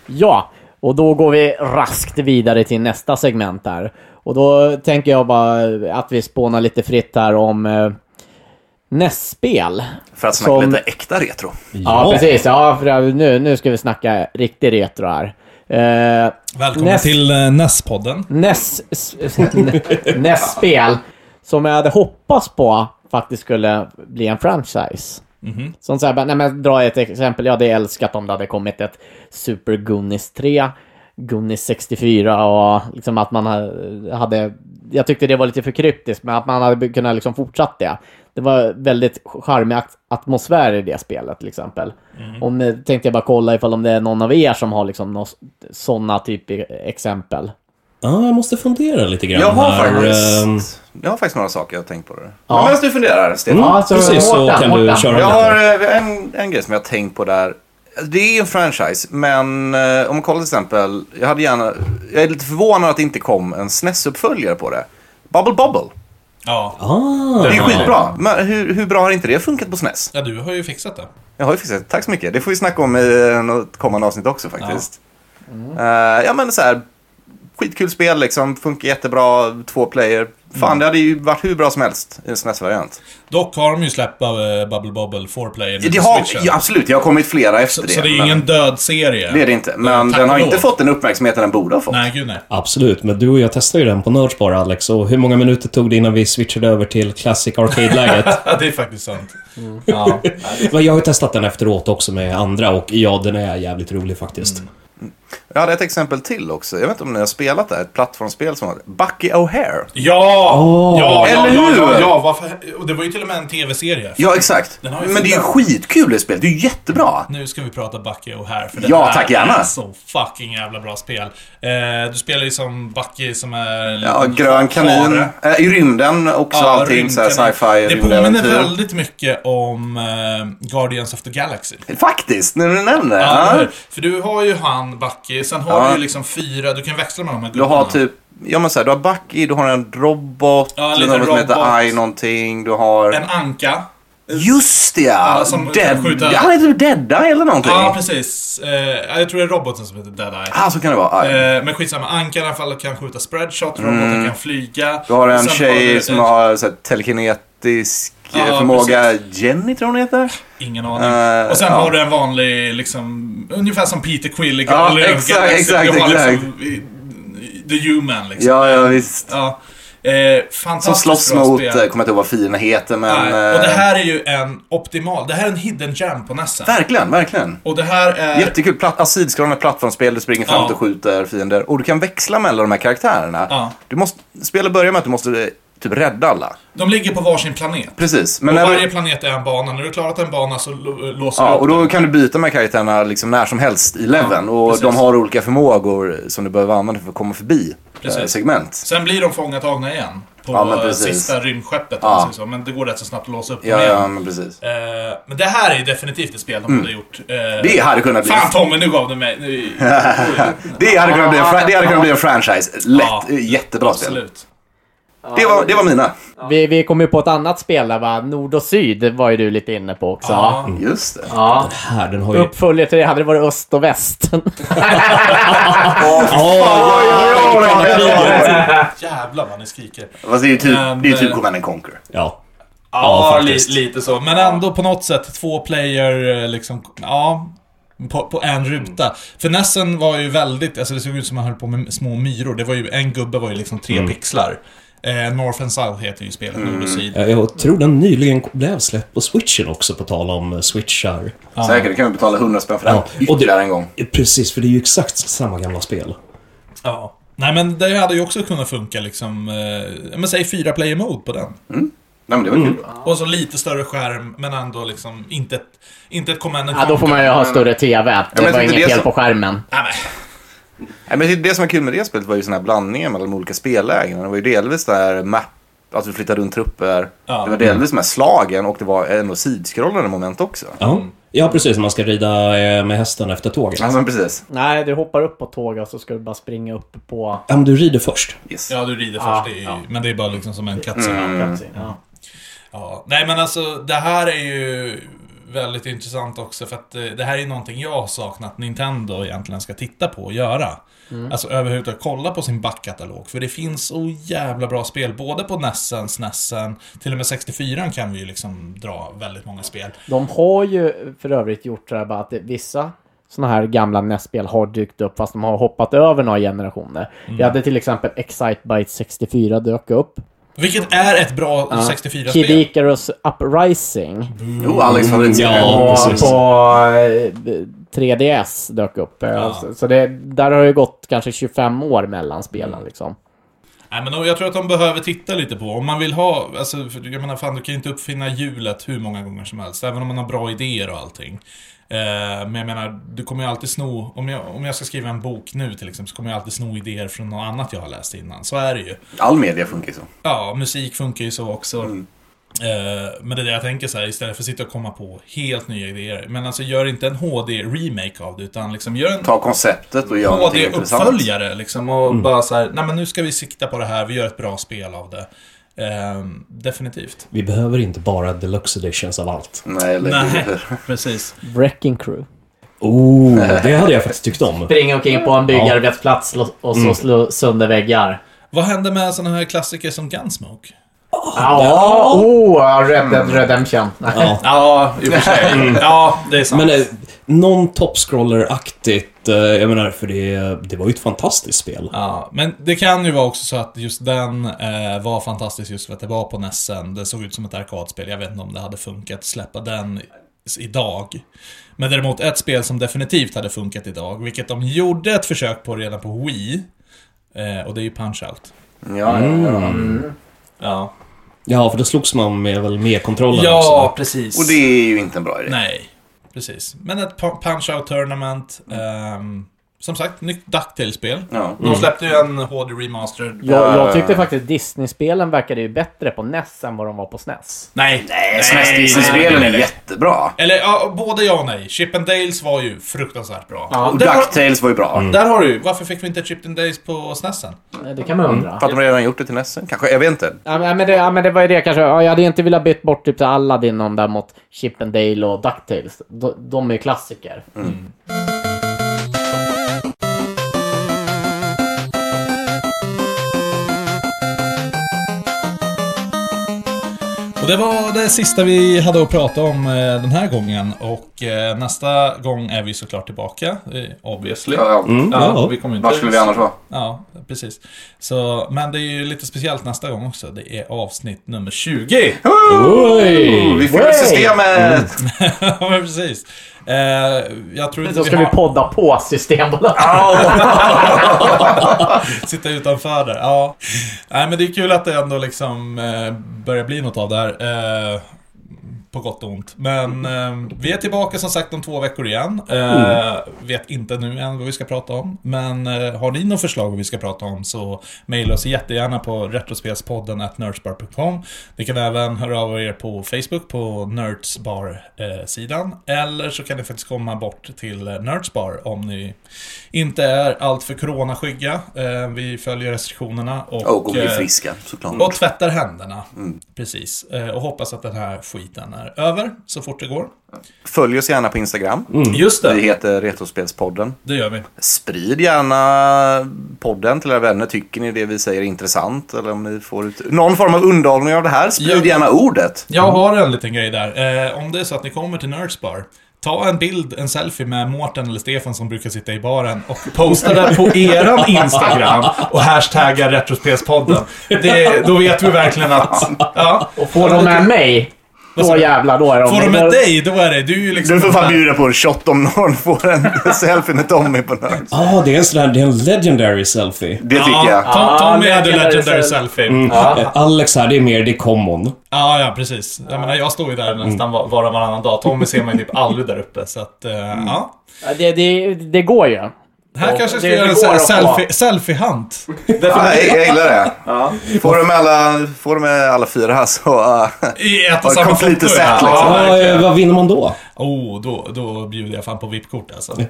S4: Ja, och då går vi raskt vidare till nästa segment där. Och då tänker jag bara att vi spånar lite fritt här om eh, nästspel.
S3: För att snacka
S4: Som-
S3: lite äkta retro.
S4: Ja, precis. Ja, för nu, nu ska vi snacka riktig retro här. Eh,
S1: Välkommen
S4: näst-
S1: till eh, NES-podden.
S4: [laughs] Näs... s- Nästspel som jag hade hoppats på faktiskt skulle bli en franchise. Som så här, bara, nej men dra ett exempel, jag hade älskat om det hade kommit ett Super Goonies 3, Goonies 64 och liksom att man ha- hade, jag tyckte det var lite för kryptiskt, men att man hade kunnat liksom fortsatt det. Det var väldigt charmig at- atmosfär i det spelet till exempel. Och nu tänkte jag bara kolla ifall om det är någon av er som har liksom något, sådana typ i- exempel.
S2: Ja, jag måste fundera lite grann
S3: Jag har
S2: här. Ehm,
S3: faktiskt, jag har faktiskt några saker jag har tänkt på. Det. Men medan du funderar, Stefan.
S4: Ja, så
S2: Mm, Precis, så
S4: Håkan,
S2: kan
S4: Håkan.
S2: du köra
S3: Jag
S2: lite.
S3: har eh, en, en grej som jag har tänkt på där. Det är ju en franchise, men eh, om man kollar till exempel. Jag, hade gärna, jag är lite förvånad att det inte kom en SNES-uppföljare på det. Bubble Bubble.
S1: Ja.
S2: Ah,
S3: Det är skitbra. Men hur, hur bra har inte det funkat på SNES?
S1: ja, du har ju fixat det.
S3: Jag har ju fixat det. Tack så mycket. Det får vi snacka om i eh, något kommande avsnitt också faktiskt. Eh, ja, men så här. Skitkul spel liksom. Funkar jättebra. Två player. Fan, det hade ju varit hur bra som helst i en SNES-variant.
S1: Dock har de ju släppt eh, Bubble Bobble 4-player nu
S3: Det
S1: till
S3: har,
S1: Switchen.
S3: ja, absolut, jag har kommit flera efter
S1: så,
S3: det.
S1: så det är
S3: men-
S1: ingen död serie.
S3: Det är det inte, men
S1: tack
S3: den har
S1: och
S3: inte
S1: lov.
S3: fått den uppmärksamheten den borde ha fått.
S1: Nej, gud nej.
S2: Absolut, men du och jag testade ju den på Nerds bara, Alex. Och hur många minuter tog det innan vi switchade över till Classic
S4: [laughs]
S2: Arcade-läget?
S1: Ja, det är faktiskt sant.
S7: Ja.
S2: men jag har ju testat den efteråt också med andra och ja, den är jävligt rolig faktiskt.
S4: Mm.
S3: Jag hade ett exempel till också. Jag vet inte om ni har spelat det här, ett plattformsspel som var Bucky O'Hare.
S1: Ja! ja, ja,
S3: Eller
S1: ja,
S3: hur?
S1: ja, ja, varför? Och det var ju till och med en tv-serie.
S3: Ja, exakt.
S1: Den har ju
S3: Men det är ju
S1: funkat.
S3: skitkul det spelet, det är ju jättebra.
S1: Nu ska vi prata Bucky O'Hare, för det
S3: Ja,
S1: här
S3: tack, gärna.
S1: är så fucking jävla bra spel. Eh, du spelar ju som Bucky som är... en
S3: Ja,
S1: liten
S3: grön kanin,
S1: hare.
S3: eh, i rymden också
S1: Mm. Ja,
S3: allting, så här
S1: rymdkanin.
S3: sci-fi,
S1: Det påminner
S3: rymdäventyr.
S1: väldigt mycket om eh, Guardians of the Galaxy.
S3: Faktiskt, när du nämner det.
S1: Ja,
S3: Ja,
S1: eller hur? För du har ju han, Bucky, sen har
S3: Ja.
S1: du ju liksom fyra, du kan växla mellan de här
S3: Du har
S1: gubbarna.
S3: typ, ja men så här, du har Bucky, du har en robot,
S1: Ja, en
S3: du
S1: liten
S3: har något som heter
S1: robot.
S3: I någonting, du har...
S1: En anka.
S3: Just det, ja!
S1: Ja, som kan
S3: Dead...
S1: skjuta-
S3: Han heter Dead Eye eller någonting.
S1: Ja, precis. Eh, jag tror det är roboten som heter Dead Eye.
S3: Ah, så kan det vara. Ja.
S1: Eh, men skitsamma, Ankan i alla fall kan skjuta spreadshot, roboten kan flyga.
S3: Mm. Du har
S1: Och
S3: en
S1: sen
S3: tjej
S1: du
S3: som
S1: en-
S3: har så här, telekinetisk eh,
S1: Ja,
S3: förmåga. Jenny tror hon heter.
S1: Ingen aning.
S3: Eh,
S1: och sen
S3: ja.
S1: har du en vanlig, liksom, ungefär som Peter Quill i
S3: Ja,
S1: Guardians of the
S3: exakt,
S1: Galaxy.
S3: exakt,
S1: Du har
S3: exakt.
S1: liksom, i- i- the human liksom.
S3: Ja, ja visst.
S1: Ja. Eh, fantastiskt
S3: Som slåss
S1: bra
S3: mot, eh,
S1: spel.
S3: kommer jag inte ihåg vad fienden heter men...
S1: Nej, och det
S3: eh,
S1: här är ju en optimal, det här är en hidden gem på nästan.
S3: Verkligen, verkligen.
S1: Och det här är...
S3: Jättekul. Platt, alltså, sidskrollande plattformsspel, du springer fram
S1: Eh. Ja.
S3: och skjuter fiender. Och du kan växla mellan de här karaktärerna.
S1: Ja.
S3: Du måste, spelet börjar med att du måste eh, typ rädda alla.
S1: De ligger på varsin planet.
S3: Precis. Men
S1: och
S3: när
S1: varje
S3: du,
S1: planet är en bana. När du har klarat en bana så lo- eh, låser
S3: ja,
S1: du upp
S3: och då kan du byta med karaktärerna liksom när som helst i leveln. och
S1: precis.
S3: de har olika förmågor som du behöver använda för att komma förbi
S1: Precis.
S3: eh, segment.
S1: Sen blir de fångatagna igen. På
S3: Ja, men
S1: eh,
S3: precis.
S1: sista rymdskeppet, om
S3: Ja.
S1: man säger så. Men det går rätt så snabbt att låsa upp dem
S3: Ja,
S1: igen.
S3: ja, men precis.
S1: Eh, men det här är ju definitivt ett spel de borde ha gjort. eh,
S3: Det hade kunnat bli...
S1: Fan Tommy, nu gav du mig... Nu,
S3: Det hade kunnat bli en, fra- det hade kunnat bli en franchise. Lätt. eh,
S1: Ja.
S3: Jättebra spel.
S1: absolut.
S3: Det var, det var mina.
S4: Vi, vi kom ju på ett annat spel där va? Nord och Syd var ju du lite inne på också.
S1: Ja.
S3: Just det.
S4: Ja.
S2: Här, den har ju...
S4: Uppföljare till det hade det varit Öst och Väst. [laughs]
S2: Ja,
S1: Jävlar vad ni skriker.
S3: Fast det är ju typ,
S1: Men,
S3: det är ju typ
S1: eh,
S3: Command and Conquer.
S2: ja.
S1: Ja, li,
S2: faktiskt.
S1: lite så. Men ändå på något sätt två player, eh, liksom, ja. På, på en ruta. För Nessen var ju väldigt, alltså det såg ut som man höll på med små myror. Det var ju, en gubbe var ju liksom tre
S2: Mm.
S1: pixlar. Eh, North and South heter ju spelet, nord och syd.
S2: Ja, Jag tror den nyligen blev släppt på switchen också, på tal om eh, switchar.
S3: Säkert, då kan vi betala 100 spänn för den
S2: Ja, och det-
S3: ytterligare en gång.
S2: Precis, för det är ju exakt samma gamla spel.
S1: Ja. Nej men det hade ju också kunnat funka liksom, eh, men säg fyra player mode på den.
S3: Nej men det var kul.
S1: Och så lite större skärm, men ändå liksom inte ett, inte ett command and
S4: ja, då får man ju ha större TV. Det
S3: men
S4: var
S3: det är
S4: inget
S3: det
S4: fel
S3: som-
S4: på skärmen.
S1: Nej, men.
S3: Nej, men det som var kul med det spelet var ju såna här blandningar mellan de olika spellägena. Det var ju delvis där map, att du flyttar runt trupper.
S1: Ja.
S3: det var delvis de här slagen och det var ändå sidskrollande moment också.
S2: Ja.
S4: Mm.
S2: ja, precis. Man ska rida eh, med hästen efter tåget.
S3: Alltså precis.
S4: Nej, du hoppar upp på tåget och så ska du bara springa upp på...
S2: Ja, men du rider först.
S3: Yes.
S1: Ja, du rider först.
S4: Ja,
S1: det är ju,
S4: ja. Mm.
S1: Men det är bara liksom som en katt
S3: Mm.
S4: Ja.
S1: Ja. Nej, men alltså det här är ju väldigt intressant också för att eh, det här är ju någonting jag har saknat Nintendo egentligen ska titta på och göra.
S4: Mm.
S1: Alltså överhuvudtaget kolla på sin backkatalog. För det finns så jävla bra spel, både på E Nessen, Snessen, till och med 64 kan vi ju liksom dra väldigt många spel.
S4: De har ju för övrigt gjort så här bara att det- vissa sådana här gamla NES-spel har dykt upp fast de har hoppat över några generationer. Vi hade till exempel Excitebike 64 dök upp.
S1: Vilket är ett bra 64-spel.
S4: Kid Icarus Uprising
S3: Jo, Alex favoritspel.
S2: Ja.
S4: på,
S2: precis.
S4: på eh, 3DS dök upp. Eh,
S1: Ja.
S4: Så, så det, där har det gått kanske 25 år mellan spelen liksom.
S1: Nej, men de- jag tror att de behöver titta lite på, om man vill ha, alltså, för jag menar fan du kan ju inte uppfinna hjulet hur många gånger som helst, även om man har bra idéer och allting. Eh, men jag menar, du kommer ju alltid sno, om jag, om jag ska skriva en bok nu till exempel, så kommer jag alltid sno idéer från något annat jag har läst innan. Så är det ju.
S3: All media funkar ju så.
S1: Ja, musik funkar ju så också. Eh, men det är det jag tänker så här, istället för att sitta och komma på helt nya idéer. Men alltså gör inte en HD-remake av det, utan liksom gör en
S3: Ta konceptet och gör någonting intressant.
S1: HD-uppföljare liksom och bara så här, nej men nu ska vi sikta på det här, vi gör ett bra spel av det. Ehm, definitivt.
S2: Vi behöver inte bara deluxe editions av allt.
S3: Nej, eller
S1: Nej, [laughs]
S3: hur?
S1: precis.
S4: Wrecking Crew.
S2: Oh,
S1: Eh.
S2: det hade jag faktiskt tyckt om.
S4: Springa omkring på en byggarbetsplats lo- och så slå sönder väggar.
S1: Vad hände med sådana här klassiker som Gunsmoke?
S4: Ja, oh, Red Dead Redemption. [laughs]
S1: Ja, i och för sig. Ja, det är sant.
S2: Men eh, någon topscroller-aktigt, eh, jag menar, för det, det var ju ett fantastiskt spel.
S1: Ja, men det kan ju vara också så att just den eh, var fantastisk just för att det var på Nessen. Det såg ut som ett arkadspel. Jag vet inte om det hade funkat att släppa den s- idag. Men däremot ett spel som definitivt hade funkat idag, vilket de gjorde ett försök på redan på Wii. Eh, och det är ju Punch-Out.
S3: Ja, ja, ja.
S1: Ja.
S2: Ja, för då slogs man med, väl med kontrollen
S1: Ja,
S2: också.
S1: precis.
S3: Och det är ju inte en bra idé.
S1: Nej, precis. Men ett pu- Punch-Out Tournament. ehm, som sagt, nytt Ducktail-spel.
S3: Mm. Ja.
S1: De släppte ju en HD Remastered.
S4: Jag, jag tyckte faktiskt Disney-spelen verkade ju bättre på NES än vad de var på E SNES.
S1: Nej. Nej,
S3: Spelen är jättebra.
S1: Eller ja, både ja och nej. Chip and Dales var ju fruktansvärt bra.
S3: Och
S1: där, har,
S3: Ducktails var ju bra.
S1: där har du ju. Varför fick vi inte Chip and Dales på snessen?
S4: Eh, Det kan man undra.
S3: För att de redan gjort det till Nessen, kanske? Jag vet inte.
S4: Mm. Ja, men, ja, men det, ja, men det var ju det kanske. Ja, jag hade inte velat byta bort typ till Aladdin om där mot Chippendale och Ducktails. De, de är ju klassiker.
S1: Och det var det sista vi hade att prata om eh, den här gången. Och eh, nästa gång är vi såklart tillbaka. eh, Obviously.
S3: Ja, ja.
S1: Mm. Ja, vi kommer inte...
S3: Var skulle vi annars vara?
S1: Ja, precis. Så, men det är ju lite speciellt nästa gång också. Det är avsnitt nummer 20. Oh, Mm.
S2: Oj!
S3: Vi fyller systemet!
S1: [laughs] ja, men precis. Eh, jag tror inte
S4: Så ska
S1: har-
S4: vi podda på Systembolaget.
S1: Sitta utanför där, ja. Nej men det är kul att det ändå liksom eh, börjar bli något av det här. Eh, på gott och ont. Men eh, vi är tillbaka som sagt om två veckor igen. Eh, Vet inte nu än vad vi ska prata om. Men eh, har ni något förslag vad vi ska prata om så mejla oss jättegärna på retrospelspodden at nerdsbar.com. Ni kan även höra av er på Facebook på Nerdsbar-sidan. Eller så kan ni faktiskt komma bort till eh, Nerdsbar om ni inte är alltför coronaskygga. Eh, vi följer restriktionerna. Och,
S3: Och bli
S1: eh,
S3: friska, såklart.
S1: och tvättar händerna. Precis. Eh, Och hoppas att den här skiten är över så fort det går.
S3: Följ oss gärna på Instagram.
S1: Just
S3: Vi
S1: Mm. det,
S3: heter Retrospelspodden.
S1: det gör vi.
S3: Sprid gärna podden till era vänner. Tycker ni det vi säger är intressant? Eller om ni får ut... någon form av underhållning av det här? Sprid
S1: Ja.
S3: gärna ordet.
S1: Jag har en liten grej där. Eh, om det är så att ni kommer till Nerdsbar, ta en bild, en selfie med Mårten eller Stefan som brukar sitta i baren och posta den [laughs] på eran Instagram och hashtagga Retrospelspodden. Det, då vet vi verkligen att... Ja.
S4: Får de med mig, då jävlar då är de
S1: Får de
S4: då-
S1: med dig, då är det... Du är ju liksom...
S3: Du får fan bjuda på en shot om någon får en [laughs] selfie med Tommy på nörd.
S2: Ja, det är en sån här, det är en legendary selfie.
S3: Det tycker
S1: Ja, Mm.
S3: jag.
S1: Tom- Tommy
S4: Ah,
S1: hade
S4: legendary
S1: legendary
S4: selfie.
S1: selfie.
S2: Eh, Alex här, det är mer, det är common.
S1: Ja, ja precis. Jag menar, jag står ju där nästan var var och Mm. varannan dag. Tommy ser man ju typ aldrig där uppe, så att... eh, Ja.
S4: Ja, Det, det, det går ju.
S1: Här kanske jag ska
S7: det
S1: göra en
S7: går
S1: sån här
S7: att få.
S1: selfie- selfie-hunt.
S7: Därför-
S3: Ja, jag, jag gillar det.
S7: Ja.
S3: Får du med alla, får du med alla fyra här så... eh,
S1: I ett
S3: Ja,
S1: och
S3: det
S1: samma
S3: kom lite
S1: foto.
S3: sent,
S1: ja.
S3: liksom.
S1: Ja,
S2: Vad, eh,
S1: verkligen.
S2: vad vinner man då?
S1: Oh, då, då bjuder jag fan på VIP-kort alltså.
S2: Ja.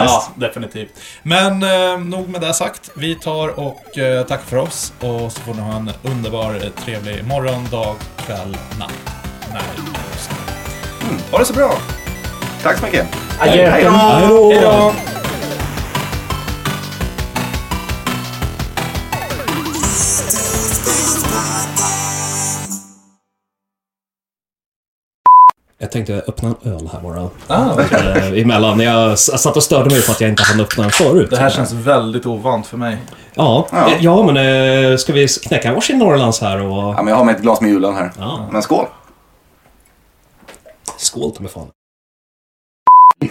S1: Ja, definitivt. Men eh, nog med det sagt. Vi tar och eh, tackar för oss. Och så får ni ha en underbar, eh, trevlig morgon, dag, kväll, natt. Nej, just det. Ha det så bra!
S3: Tack så mycket.
S4: Adjö.
S3: Hej då.
S2: Hej då! Jag tänkte öppna en öl här bara.
S1: Ah.
S2: Eh, Emellan. Jag s- satt och störde mig på att jag inte hann öppna den förut.
S1: väldigt ovant för mig.
S2: Ja,
S3: Ja.
S2: ja. ja men eh, ska vi knäcka varsin Norrlands här och...
S3: Ja, men jag har med ett glas med julen här.
S2: Ja.
S3: Men skål.
S2: Skål ta mig fan.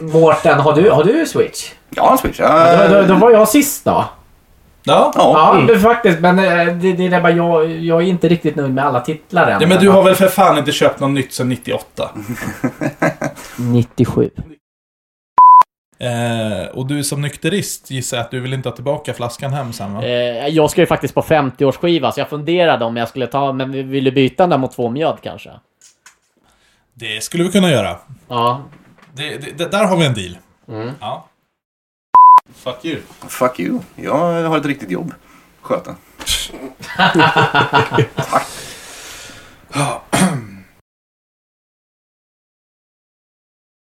S4: Mårten, har du, har du Switch?
S3: Jag har en switch.
S4: Då, då, då
S3: Jag,
S4: var jag sist då.
S1: Ja.
S3: ja.
S4: Ja, men faktiskt. Men eh, det, det är bara jag, jag är inte riktigt nöjd med alla titlar än.
S1: ja, men du har väl för fan inte köpt något nytt sedan 98?
S4: 97.
S1: Eh, och du som nykterist gissar jag att du vill inte ha tillbaka flaskan hem sen va?
S4: Eh, jag ska ju faktiskt på 50-årsskiva, så jag funderade om jag skulle ta... Men vi ville byta den där mot två mjöd kanske.
S1: Det skulle vi kunna göra.
S4: Ja.
S1: Det, det, det, där har vi en deal. Ja. Fuck you.
S3: Fuck you. Jag har ett riktigt jobb. Sköta. Tack.